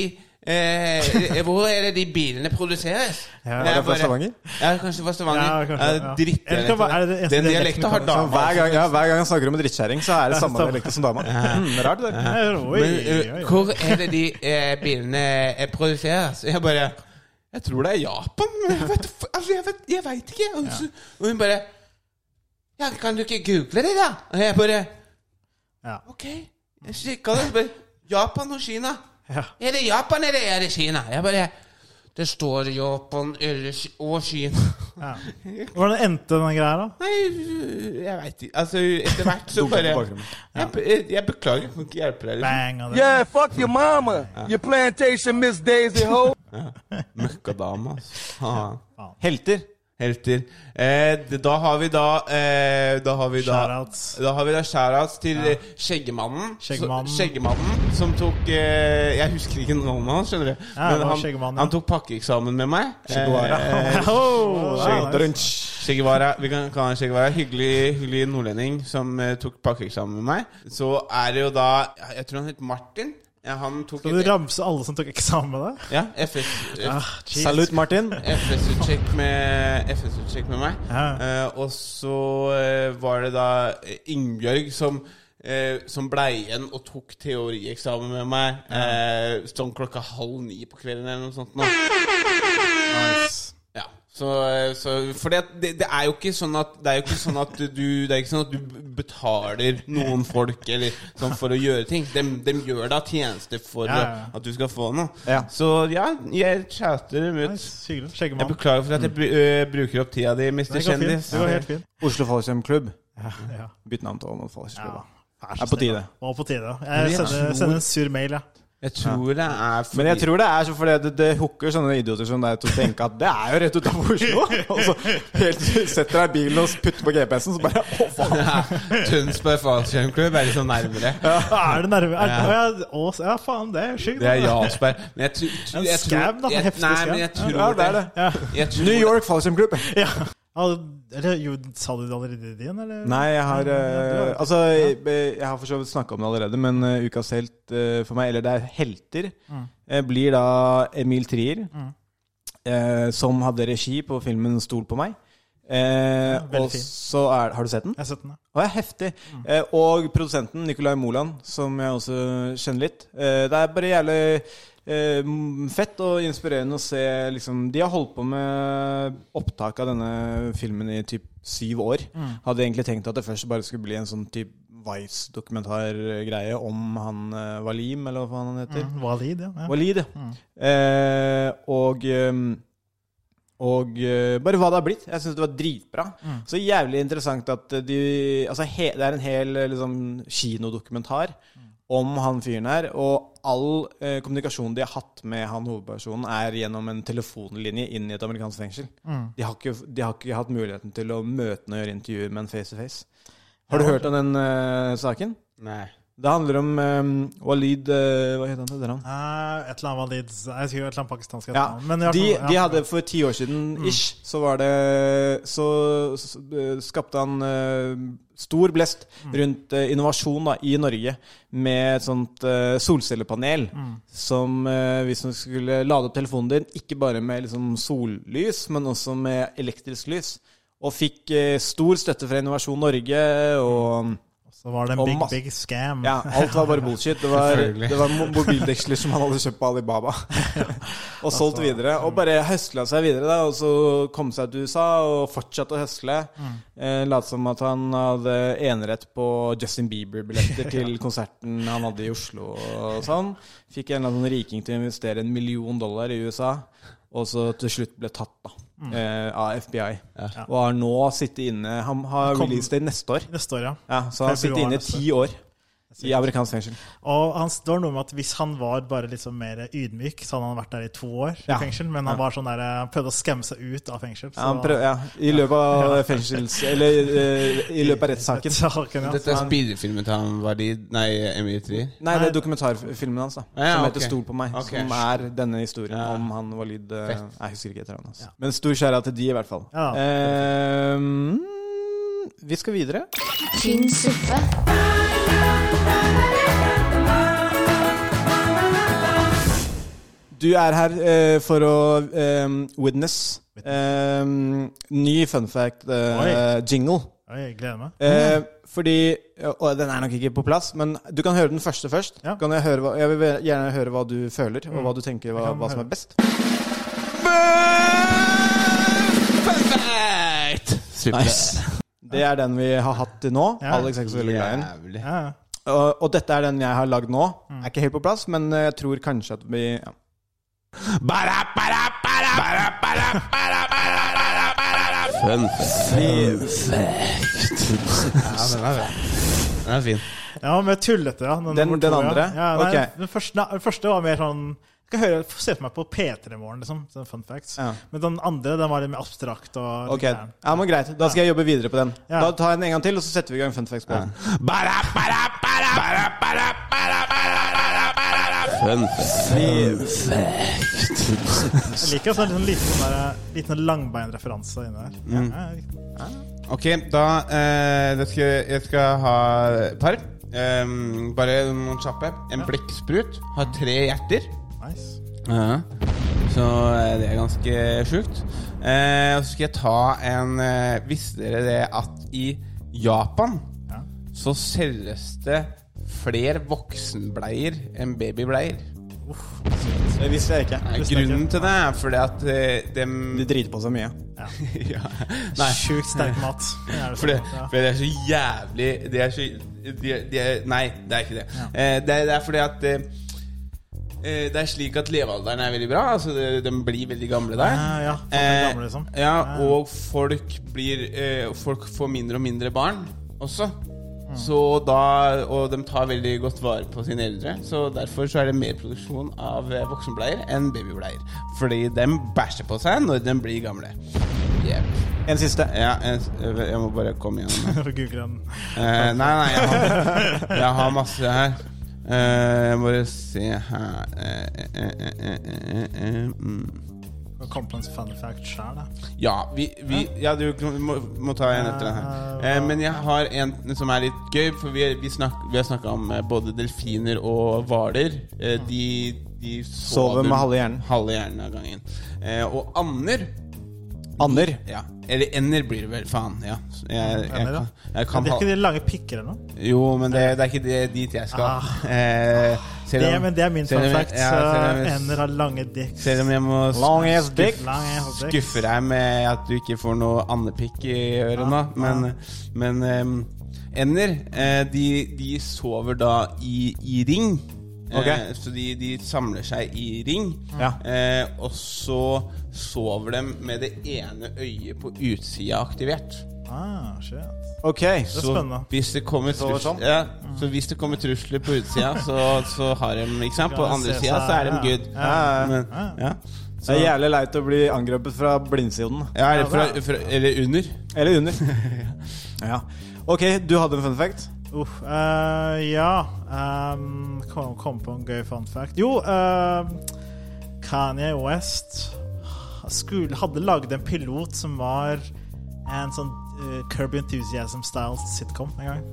[SPEAKER 3] eh, hvor er det de bilene produseres?
[SPEAKER 1] Ja,
[SPEAKER 3] Jeg
[SPEAKER 2] er det fra
[SPEAKER 3] bare-
[SPEAKER 2] Stavanger?
[SPEAKER 3] Ja, kanskje det var Stavanger.
[SPEAKER 1] Ja, kanskje,
[SPEAKER 3] Eh,
[SPEAKER 1] ja.
[SPEAKER 3] dritt,
[SPEAKER 1] Eller kan- er det det eneste
[SPEAKER 3] Den
[SPEAKER 1] dialekten du
[SPEAKER 3] dialekten har
[SPEAKER 1] kan-
[SPEAKER 3] dama.
[SPEAKER 2] Hver gang, ja, hver gang han snakker om en drittkjerring, så er det samme
[SPEAKER 1] samme.
[SPEAKER 2] dialekt som dama. Mm, det er rart, det.
[SPEAKER 1] Ja, Oi,
[SPEAKER 3] Men
[SPEAKER 1] oi,
[SPEAKER 3] eh,
[SPEAKER 1] oi.
[SPEAKER 3] hvor er det de eh, bilene eh, produseres? Jeg bare Jeg tror det er Japan. Men jeg vet, altså, jeg vet, jeg vet ikke. Og, så, og hun bare Ja, kan du ikke google det, da? Og jeg bare
[SPEAKER 1] Ja.
[SPEAKER 3] Ok. Jeg sjekka det. så Bare, Japan og Kina.
[SPEAKER 1] Ja.
[SPEAKER 3] Er det Japan, eller er det Kina? Jeg bare Det står Japan eller Ki- og Kina.
[SPEAKER 1] Ja. Hvordan endte den greia, da?
[SPEAKER 3] Nei, jeg veit ikke. Altså, etter hvert så
[SPEAKER 2] Dunker
[SPEAKER 3] bare
[SPEAKER 2] på bakgrunnen.
[SPEAKER 3] jeg, jeg, jeg beklager, jeg kan ikke hjelpe deg. Liksom.
[SPEAKER 1] Bang! Og det.
[SPEAKER 7] Yeah, fuck your mama. Your plantation, Miss Daisy Ho.
[SPEAKER 3] Møkkadame, altså. Faen.
[SPEAKER 2] Helter.
[SPEAKER 3] Helter. Eh, d- da har vi da eh, Da har vi da
[SPEAKER 1] Shoutouts.
[SPEAKER 3] da har vi da shoutouts til eh, Skjeggemannen.
[SPEAKER 1] Skjeggemannen.
[SPEAKER 3] Så- Skjeggemannen Som tok eh, Jeg husker ikke navnet hans, skjønner du.
[SPEAKER 1] Ja, det var
[SPEAKER 3] han,
[SPEAKER 1] Skjeggemannen, ja.
[SPEAKER 3] han tok pakkeeksamen med meg.
[SPEAKER 2] Guevara.
[SPEAKER 3] Eh,
[SPEAKER 1] Oh,
[SPEAKER 3] Skjegg-
[SPEAKER 1] det er nice.
[SPEAKER 3] Che Guevara, vi kan kalle han Che Guevara. Hyggelig, hyggelig nordlending som eh, tok pakkeeksamen med meg. Så er det jo da Jeg tror han het Martin. Ja, han tok
[SPEAKER 1] Skal du ramse alle som tok eksamen med deg?
[SPEAKER 3] ja, FS,
[SPEAKER 1] Ah, jeez.
[SPEAKER 2] Salut, Martin.
[SPEAKER 3] FS-utsjekk med, FS-utsjekk med meg.
[SPEAKER 1] Ja.
[SPEAKER 3] Eh, og så eh, var det da eh, Ingebjørg som, eh, som blei igjen og tok teorieksamen med meg eh, sånn klokka halv ni på kvelden eller noe sånt. Nå. Ja. Så, eh, så For det, det, det er jo ikke sånn at Det er jo ikke sånn at du Det er ikke sånn at du betaler noen folk Eller sånn for å gjøre ting. De, gjør da tjenester for
[SPEAKER 1] Ja, ja, ja.
[SPEAKER 3] at du skal få noe.
[SPEAKER 2] Ja.
[SPEAKER 3] Så ja, jeg chatter dem ut.
[SPEAKER 1] Nice. Hyggelig.
[SPEAKER 3] Jeg
[SPEAKER 1] Skjeggemann.
[SPEAKER 3] beklager for at jeg bru- øh, bruker opp tida di, Mr.
[SPEAKER 1] Det går fint.
[SPEAKER 3] Kjendis.
[SPEAKER 1] Det går helt fint.
[SPEAKER 2] Oslo Fallskjermklubb.
[SPEAKER 1] Ja.
[SPEAKER 2] Bytt navn til Åmot Fallskjermklubb. da.
[SPEAKER 1] Vær så
[SPEAKER 2] Er på
[SPEAKER 1] snill.
[SPEAKER 2] tide.
[SPEAKER 1] Og på tide. Jeg
[SPEAKER 3] Jeg
[SPEAKER 1] sender,
[SPEAKER 3] tror-
[SPEAKER 1] sender en sur mail, jeg.
[SPEAKER 3] Jeg tror det er fordi
[SPEAKER 2] Men jeg tror det er så fordi det, det hooker sånne idioter som deg til å tenke at det er jo rett utenfor Oslo. Og så helt til du setter deg i bilen og putter på GPS-en, så bare å faen.
[SPEAKER 3] ja, Tønsberg Fallskjermklubb er liksom nærmere.
[SPEAKER 1] Er det nærme? Er, ja. Å, ja, faen, det er sjukt.
[SPEAKER 3] Det er Jarlsberg. Men jeg tror tr
[SPEAKER 1] En
[SPEAKER 3] jeg tror-
[SPEAKER 1] scam, da,
[SPEAKER 3] jeg-
[SPEAKER 1] heftig
[SPEAKER 3] Nei,
[SPEAKER 1] scam.
[SPEAKER 3] men jeg tror
[SPEAKER 2] Ja, det er det.
[SPEAKER 1] Ja.
[SPEAKER 3] Jeg tror
[SPEAKER 2] New York Fallskjermklubb.
[SPEAKER 1] ja. Eller, jo, sa du det allerede i din, eller?
[SPEAKER 2] Nei, jeg har eh,
[SPEAKER 1] Ja, du har-
[SPEAKER 2] Altså, jeg, jeg har for så vidt snakka om det allerede, men eh, ukas helt eh, for meg, eller det er helter,
[SPEAKER 1] Mm.
[SPEAKER 2] eh, blir da Emil Trier, eh, som hadde regi på filmen 'Stol på meg'. Eh,
[SPEAKER 1] veldig
[SPEAKER 2] og
[SPEAKER 1] fin.
[SPEAKER 2] så er Har du sett den?
[SPEAKER 1] Jeg har sett den, ja.
[SPEAKER 2] Og det er heftig. Eh, og produsenten Nicolai Moland, som jeg også kjenner litt. Eh, det er bare jævlig eh, m- fett og inspirerende å se liksom, De har holdt på med opptak av denne filmen i typ syv år. Hadde egentlig tenkt at det først bare skulle bli en sånn typ Vice-dokumentargreie om han eh, Walim, eller hva faen han
[SPEAKER 1] Mm.
[SPEAKER 2] heter.
[SPEAKER 1] Walid, ja. ja.
[SPEAKER 2] Walid, ja. Eh, og ehm, og eh, bare hva det har blitt. Jeg syns det var dritbra. Så jævlig interessant at de Altså, he, det er en hel eh, liksom, kinodokumentar om han fyren her. Og all eh, kommunikasjon de har hatt med han hovedpersonen, er gjennom en telefonlinje inn i et amerikansk fengsel. De, har ikke, de har ikke hatt muligheten til å møte ham og gjøre intervjuer med en face to face. Har du hørt om den eh, saken?
[SPEAKER 3] Nei.
[SPEAKER 2] Det handler om eh, Walid eh, Hva heter han? Heter han?
[SPEAKER 1] Eh, et eller annet Walid Jeg husker jo et eller annet pakistansk
[SPEAKER 2] Ja,
[SPEAKER 1] etternavn, men i hvert
[SPEAKER 2] de,
[SPEAKER 1] fall- ja.
[SPEAKER 2] de
[SPEAKER 1] Mm.
[SPEAKER 2] hadde for ti år siden ish, så var det Så, så eh, skapte han eh, stor blest
[SPEAKER 1] Mm.
[SPEAKER 2] rundt eh, innovasjon da, i Norge med et sånt eh, solcellepanel
[SPEAKER 1] Mm.
[SPEAKER 2] som eh, hvis man skulle lade opp telefonen din, ikke bare med liksom, sollys, men også med elektrisk lys. Og fikk eh, stor støtte fra Innovasjon Norge,
[SPEAKER 1] Mm.
[SPEAKER 2] og
[SPEAKER 1] Så var det en
[SPEAKER 2] Og
[SPEAKER 1] big,
[SPEAKER 2] masse-
[SPEAKER 1] big scam.
[SPEAKER 2] ja, alt var bare bullshit. Det var,
[SPEAKER 3] Selvfølgelig.
[SPEAKER 2] det var mo- mobildeksler som han hadde kjøpt på Alibaba. og solgt videre. Og bare høsla seg videre, da. Og så kom seg til USA og fortsatte å høsle. Eh, Lot som at han hadde enerett på Justin Bieber-billetter til konserten han hadde i Oslo og sånn. Fikk en eller annen riking til å investere en million dollar i USA. Og så til slutt ble tatt, da. Eh, av FBI. Og har nå sittet inne Han har
[SPEAKER 1] Kom-
[SPEAKER 2] release date neste år.
[SPEAKER 1] Neste år, ja.
[SPEAKER 2] Ja, så han sitter
[SPEAKER 1] Februar
[SPEAKER 2] inne i
[SPEAKER 1] neste
[SPEAKER 2] ti år i amerikansk fengsel.
[SPEAKER 1] Og han, det var noe med at hvis han var bare liksom mer ydmyk, så hadde han vært der i to år
[SPEAKER 2] Ja.
[SPEAKER 1] i fengsel, men han var sånn der, han prøvde å skamme seg ut av fengsel. Så,
[SPEAKER 2] Ja, han prøv, ja, I løpet av fengsels... Eller eh, i løpet av rettssaken.
[SPEAKER 1] Saken, ja.
[SPEAKER 3] Dette er speederfilmen til han Walid Nei, Emil Trier.
[SPEAKER 2] Nei, det er dokumentarfilmen hans, da.
[SPEAKER 3] Ja, ja,
[SPEAKER 2] som heter
[SPEAKER 3] ok.
[SPEAKER 2] 'Stol på meg'.
[SPEAKER 3] Ok.
[SPEAKER 2] Som er denne historien
[SPEAKER 3] Ja.
[SPEAKER 2] om han var lyd eh,
[SPEAKER 3] Fett.
[SPEAKER 2] Jeg husker ikke etter han. Altså. Men stor skjæra til de, i hvert fall.
[SPEAKER 1] Ja.
[SPEAKER 2] Eh, mm, vi skal videre.
[SPEAKER 4] Tynn suppe.
[SPEAKER 2] Du er her eh, for å eh, witness eh, ny fun
[SPEAKER 1] Oi.
[SPEAKER 2] eh, fact-jingle.
[SPEAKER 1] Oi, jeg gleder meg.
[SPEAKER 2] Eh, fordi Og den er nok ikke på plass, men du kan høre den første først.
[SPEAKER 1] Ja. Mm.
[SPEAKER 2] Kan jeg, høre hva, jeg vil gjerne høre hva du føler, og hva du tenker hva,
[SPEAKER 1] kan
[SPEAKER 2] hva som
[SPEAKER 1] høre.
[SPEAKER 2] er best.
[SPEAKER 3] Perfekt! Supert.
[SPEAKER 2] Det er den vi har hatt til nå.
[SPEAKER 1] Ja.
[SPEAKER 2] Alex er ikke så veldig glad i den.
[SPEAKER 3] Jævlig.
[SPEAKER 1] Ja, ja.
[SPEAKER 2] Og, og dette er den jeg har lagd nå.
[SPEAKER 1] Mm.
[SPEAKER 2] Er ikke helt på plass, men eh, jeg tror kanskje at vi ja.
[SPEAKER 3] Fun Ja, den er bra. Den er fin.
[SPEAKER 1] Ja, mer tullete, ja.
[SPEAKER 2] Den-
[SPEAKER 1] nummer
[SPEAKER 2] den
[SPEAKER 1] to,
[SPEAKER 2] andre?
[SPEAKER 1] Ja. Ja, nei,
[SPEAKER 2] Ok.
[SPEAKER 1] den, første, nei, den første var mer sånn Skal høre, Se for meg på P3 i morgen, liksom. Sånn fun facts.
[SPEAKER 2] Ja.
[SPEAKER 1] Men den andre den var litt mer abstrakt. Og
[SPEAKER 2] Ok,
[SPEAKER 1] litt gæren.
[SPEAKER 2] ja, men Greit, da skal jeg jobbe videre på den.
[SPEAKER 1] Ja.
[SPEAKER 2] Da tar jeg den en gang til, og så setter vi i gang fun facts på den.
[SPEAKER 3] Fun
[SPEAKER 1] Jeg liker også en sånn liten, sånn der, liten langbeinreferanse inni der. Ja, ja,
[SPEAKER 3] Ok, da eh, det skal, Jeg skal ha et par. Ehm, bare noen kjappe. En blekksprut har tre hjerter.
[SPEAKER 1] nice.
[SPEAKER 3] Så eh, det er ganske sjukt. Eh, og så skal jeg ta en eh, Visste dere det at i Japan
[SPEAKER 1] Ja.
[SPEAKER 3] så selges det flere voksenbleier enn babybleier?
[SPEAKER 2] Det visste jeg ikke.
[SPEAKER 3] Nei,
[SPEAKER 1] Visste jeg
[SPEAKER 3] Grunnen til det er fordi at eh, dem
[SPEAKER 2] De driter på seg mye.
[SPEAKER 3] ja. Nei,
[SPEAKER 1] Sjukt sterk mat. Det er det
[SPEAKER 3] For det,
[SPEAKER 1] sånn, ja.
[SPEAKER 3] for det er så jævlig Det er så de, de er, Nei, det er ikke det. Eh, det, er- det er fordi at eh, eh, det er slik at levealderen er veldig bra. Altså det- De blir veldig gamle der.
[SPEAKER 1] Ja, ja, folk blir gamle, liksom.
[SPEAKER 3] Eh, ja,
[SPEAKER 1] Ja.
[SPEAKER 3] Og folk blir eh, Folk får mindre og mindre barn også.
[SPEAKER 2] Mm.
[SPEAKER 3] Så da, Og de tar veldig godt vare på sine eldre. Så derfor så er det mer produksjon av eh, voksenbleier enn babybleier. Fordi de bæsjer på seg når de blir gamle. Yep.
[SPEAKER 2] En siste.
[SPEAKER 3] Ja, jeg, jeg må bare komme igjennom.
[SPEAKER 1] For Google den.
[SPEAKER 3] Eh, nei, nei, jeg har, jeg har masse her. Eh, jeg må bare se her Eh, eh, eh, eh, eh, eh, eh, mm.
[SPEAKER 1] Complaints fun fact sjøl, da.
[SPEAKER 3] Ja, vi, vi ja, du kan- må, må ta en etter den her.
[SPEAKER 1] Ah.
[SPEAKER 3] Eh, men jeg har en som er litt gøy, for vi, vi, snakk, vi har snakka om eh, både delfiner og hvaler. Eh,
[SPEAKER 1] Mm.
[SPEAKER 3] de, de
[SPEAKER 2] Sover med halve hjernen.
[SPEAKER 3] halve hjernen av gangen. Eh, og ander
[SPEAKER 2] Ander.
[SPEAKER 3] ja. Eller ender blir det vel. Faen, ja. Jeg, jeg,
[SPEAKER 1] Ender, ja.
[SPEAKER 3] kan- jeg
[SPEAKER 1] Men
[SPEAKER 3] kan
[SPEAKER 1] det er
[SPEAKER 3] ha-
[SPEAKER 1] ikke de lange pikker eller noe?
[SPEAKER 3] Jo, men det, det er ikke det, dit jeg skal.
[SPEAKER 1] Ah.
[SPEAKER 3] Eh, selv
[SPEAKER 1] Det,
[SPEAKER 3] om-
[SPEAKER 1] men det er min
[SPEAKER 3] selv om
[SPEAKER 1] fun
[SPEAKER 3] jeg-
[SPEAKER 1] fact.
[SPEAKER 3] ja, selv om
[SPEAKER 1] så
[SPEAKER 3] jeg-
[SPEAKER 1] Ender har lange dicks.
[SPEAKER 3] Selv om jeg må
[SPEAKER 2] Long ass dick.
[SPEAKER 1] Lang er hos dicks.
[SPEAKER 3] skuffe deg med at du ikke får noe andepikk i øret nå, men, men ehm, ender, eh, de, de sover da i, i ring. Eh,
[SPEAKER 2] Ok.
[SPEAKER 3] Så de, de samler seg i ring,
[SPEAKER 2] Ja.
[SPEAKER 3] eh, og så sover de med det ene øyet på utsida aktivert.
[SPEAKER 1] Ah, shit.
[SPEAKER 2] Ok.
[SPEAKER 1] Det er
[SPEAKER 3] Så
[SPEAKER 1] spennende.
[SPEAKER 3] hvis det kommer trusler,
[SPEAKER 2] sånn.
[SPEAKER 3] ja, så hvis det kommer trusler på utsida, så, så har de ikke sant? På
[SPEAKER 1] Ja,
[SPEAKER 3] andre
[SPEAKER 1] se
[SPEAKER 3] sida
[SPEAKER 1] seg,
[SPEAKER 3] så er de
[SPEAKER 1] ja.
[SPEAKER 3] good.
[SPEAKER 2] Ja, ja, ja.
[SPEAKER 3] Men, ja.
[SPEAKER 2] Det er jævlig leit å bli angrepet fra blindsiden.
[SPEAKER 3] Ja, eller, fra, fra, eller under.
[SPEAKER 2] Eller under. ja. Ok, du hadde en fun fact.
[SPEAKER 1] Uff, eh, ja ehm, kom, kom på en gøy fun fact. Jo, eh, Kanye West skulle, hadde laget en pilot som var en sånn uh, Kirby Enthusiasm-style sitcom en gang.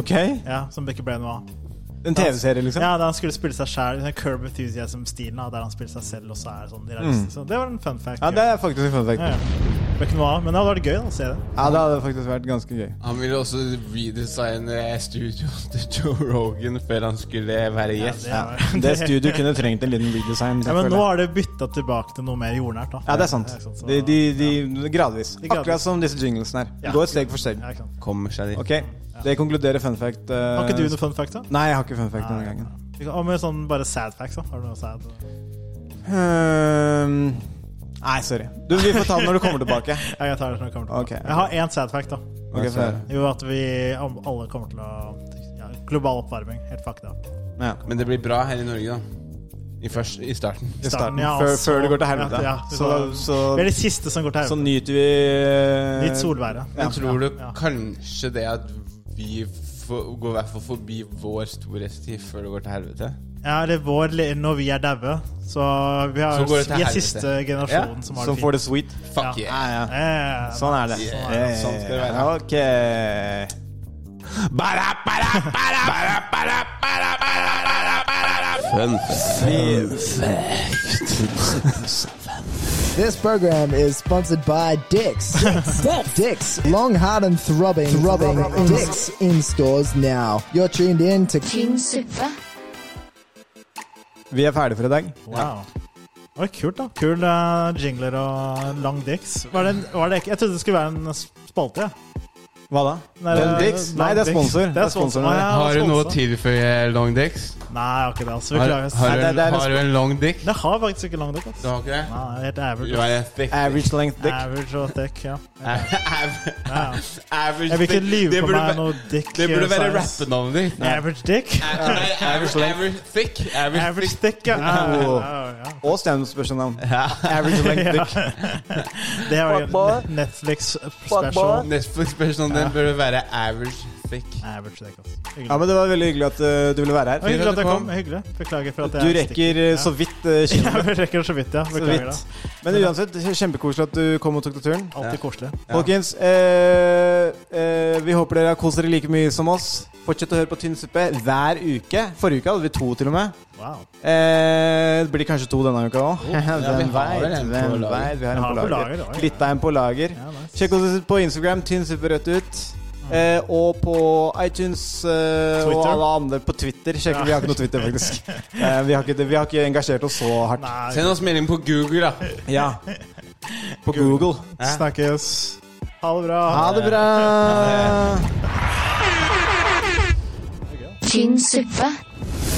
[SPEAKER 2] Ok
[SPEAKER 1] Ja, Som det ikke ble noe av.
[SPEAKER 2] En TV-serie, liksom?
[SPEAKER 1] Ja, Der han skulle spille seg sjæl. Kirby Enthusiasm-stilen da, der han spiller seg selv og så er sånn realist. Så det var en fun fact.
[SPEAKER 2] Mm. Ja, det er faktisk en fun
[SPEAKER 1] Ja,
[SPEAKER 2] fact.
[SPEAKER 1] ja. Det ble ikke noe av, men det hadde vært gøy da, å se det.
[SPEAKER 2] Ja, det hadde faktisk vært ganske gøy.
[SPEAKER 3] Han ville også redesigne studioet til Joe Rogan før han skulle være
[SPEAKER 1] Ja,
[SPEAKER 3] gjest.
[SPEAKER 1] det var-
[SPEAKER 2] Det studioet kunne trengt en liten
[SPEAKER 1] ja,
[SPEAKER 2] redesign.
[SPEAKER 1] men
[SPEAKER 2] selvfølgelig.
[SPEAKER 1] nå har det bytta tilbake til noe mer jordnært. da
[SPEAKER 2] Ja, det er sant.
[SPEAKER 1] ikke så-
[SPEAKER 2] De, de, de, gradvis.
[SPEAKER 1] gradvis.
[SPEAKER 2] Akkurat som disse jinglesene her.
[SPEAKER 1] Ja.
[SPEAKER 2] Gå et steg for steg.
[SPEAKER 1] Ja, ikke sant.
[SPEAKER 3] Kommer seg dit.
[SPEAKER 2] Ok, Det konkluderer fun fact. eh,
[SPEAKER 1] Har ikke du noe fun fact, da?
[SPEAKER 2] Nei, jeg har ikke fun fact denne gangen.
[SPEAKER 1] Vi kan- Hva med sånn bare sad facts, da? Har du noe sad? Jeg
[SPEAKER 2] Ehm, nei, sorry. Du, Vi får ta den når du kommer tilbake.
[SPEAKER 1] kan ta det når jeg kommer tilbake.
[SPEAKER 2] Ok.
[SPEAKER 1] Jeg har én sad fact, da.
[SPEAKER 2] Ok, få høre.
[SPEAKER 1] Jo, at vi om alle kommer til å ja, Global oppvarming. Helt fucked up.
[SPEAKER 2] ja.
[SPEAKER 3] Men det blir bra her i Norge, da. I, først, i starten.
[SPEAKER 2] I starten,
[SPEAKER 1] ja,
[SPEAKER 2] før,
[SPEAKER 1] altså-
[SPEAKER 2] før det går til helvete.
[SPEAKER 1] Ja,
[SPEAKER 2] så, så,
[SPEAKER 1] vi er de siste som går til
[SPEAKER 2] så
[SPEAKER 1] helvete.
[SPEAKER 2] nyter vi eh,
[SPEAKER 1] Litt solværet.
[SPEAKER 3] Men tror du
[SPEAKER 1] ja.
[SPEAKER 3] kanskje det at vi får- går i hvert fall forbi vår storhetstid før det går til helvete?
[SPEAKER 1] Ja, det er vår le- Når vi er daue, så vi, har,
[SPEAKER 3] Så går det til
[SPEAKER 1] vi er
[SPEAKER 3] helvete.
[SPEAKER 1] siste generasjonen som har det
[SPEAKER 2] Som får det sweet.
[SPEAKER 1] Ja.
[SPEAKER 3] Fuck yeah.
[SPEAKER 2] Ja, ja.
[SPEAKER 1] Eh,
[SPEAKER 2] Sånn er det.
[SPEAKER 3] Yeah, sånn skal det være.
[SPEAKER 2] Ok.
[SPEAKER 9] This program is sponsored by Dix. Dix, long, hard, and throbbing, throbbing. Dix in stores now. You're tuned in to
[SPEAKER 4] Tynn suppe.
[SPEAKER 2] Vi er ferdige for i dag.
[SPEAKER 1] Wow. Oi, kult, da. Kul eh, jingler og lang dicks. Var det, en- var det ikke Jeg trodde det skulle være en spalte. Ja.
[SPEAKER 2] Hva da?
[SPEAKER 1] Nei,
[SPEAKER 2] Long
[SPEAKER 1] det-
[SPEAKER 2] Dicks?
[SPEAKER 1] Long
[SPEAKER 2] Nei, det er
[SPEAKER 1] Dicks.
[SPEAKER 2] sponsor.
[SPEAKER 1] Det er sponsor.
[SPEAKER 2] Nei,
[SPEAKER 1] Ja,
[SPEAKER 3] Har du noe å
[SPEAKER 1] sponsor.
[SPEAKER 3] tilføye, Long Dicks?
[SPEAKER 1] Nei, jeg har ikke det. altså.
[SPEAKER 3] Har,
[SPEAKER 1] Beklager.
[SPEAKER 3] har,
[SPEAKER 1] Nei,
[SPEAKER 3] du
[SPEAKER 1] det-
[SPEAKER 3] en,
[SPEAKER 1] det er-
[SPEAKER 3] har du en long dick?
[SPEAKER 1] Det har faktisk ikke long dick.
[SPEAKER 3] Du
[SPEAKER 1] Altså.
[SPEAKER 3] har ikke det?
[SPEAKER 1] Nei, det er helt average.
[SPEAKER 3] Du er en thick
[SPEAKER 2] Average length dick.
[SPEAKER 1] Average og thick, ja.
[SPEAKER 3] Av-
[SPEAKER 1] ja.
[SPEAKER 3] Average
[SPEAKER 1] Jeg vil ikke
[SPEAKER 3] thick.
[SPEAKER 1] lyve
[SPEAKER 3] Det
[SPEAKER 1] på
[SPEAKER 3] burde
[SPEAKER 1] meg
[SPEAKER 3] væ-
[SPEAKER 1] noe dick.
[SPEAKER 3] Det burde
[SPEAKER 1] eh,
[SPEAKER 3] være
[SPEAKER 1] size.
[SPEAKER 3] rappenavnet ditt.
[SPEAKER 1] Average dick?
[SPEAKER 3] A- nei, Average average thick. Average
[SPEAKER 1] Average
[SPEAKER 3] thick.
[SPEAKER 1] dick, ja. ja, ja,
[SPEAKER 2] Wow.
[SPEAKER 1] ja, ja.
[SPEAKER 2] Og standup-spørsmål. Average length dick.
[SPEAKER 1] Det er jo en Netflix special.
[SPEAKER 3] Netflix-personen din burde være average thick.
[SPEAKER 1] Average dick, altså.
[SPEAKER 2] Ja,
[SPEAKER 1] Hyggelig.
[SPEAKER 2] men Det var veldig hyggelig at eh, du ville være
[SPEAKER 1] Og
[SPEAKER 2] her.
[SPEAKER 1] hyggelig at jeg
[SPEAKER 3] kom.
[SPEAKER 1] kom. Hyggelig. Beklager for at jeg
[SPEAKER 2] Du
[SPEAKER 1] er
[SPEAKER 2] rekker eh, så vidt eh,
[SPEAKER 1] Ja,
[SPEAKER 2] kinnet.
[SPEAKER 1] vi rekker det så vidt, ja.
[SPEAKER 2] Så
[SPEAKER 1] Beklager det.
[SPEAKER 2] vidt. Men uansett, kjempekoselig at du kom og tok deg turen.
[SPEAKER 1] Alltid koselig.
[SPEAKER 2] Folkens, eh, eh, vi håper dere har kost dere like mye som oss. Fortsett å høre på Tynn suppe hver uke. Forrige uke hadde vi to, til og med.
[SPEAKER 1] Wow.
[SPEAKER 2] Eh, det blir kanskje to denne uka òg.
[SPEAKER 3] Oh, ja, vi har vel en på lager.
[SPEAKER 2] Vi har en på lager.
[SPEAKER 1] ja, ja.
[SPEAKER 2] Litt av en på lager.
[SPEAKER 1] Ja, nice.
[SPEAKER 2] Sjekk oss ut på Instagram, Tynn suppe rett ut. Eh, og på iTunes eh, og
[SPEAKER 1] Twitter.
[SPEAKER 2] alle andre på Twitter. Sjekk, Vi har ikke noe Twitter, faktisk. Eh, vi, har ikke, vi har ikke engasjert oss så hardt.
[SPEAKER 1] Nei,
[SPEAKER 3] Send oss melding på Google, da.
[SPEAKER 2] Ja. På Google.
[SPEAKER 1] snakkes. Ha det bra.
[SPEAKER 2] Ha det bra!
[SPEAKER 4] Tynn suppe.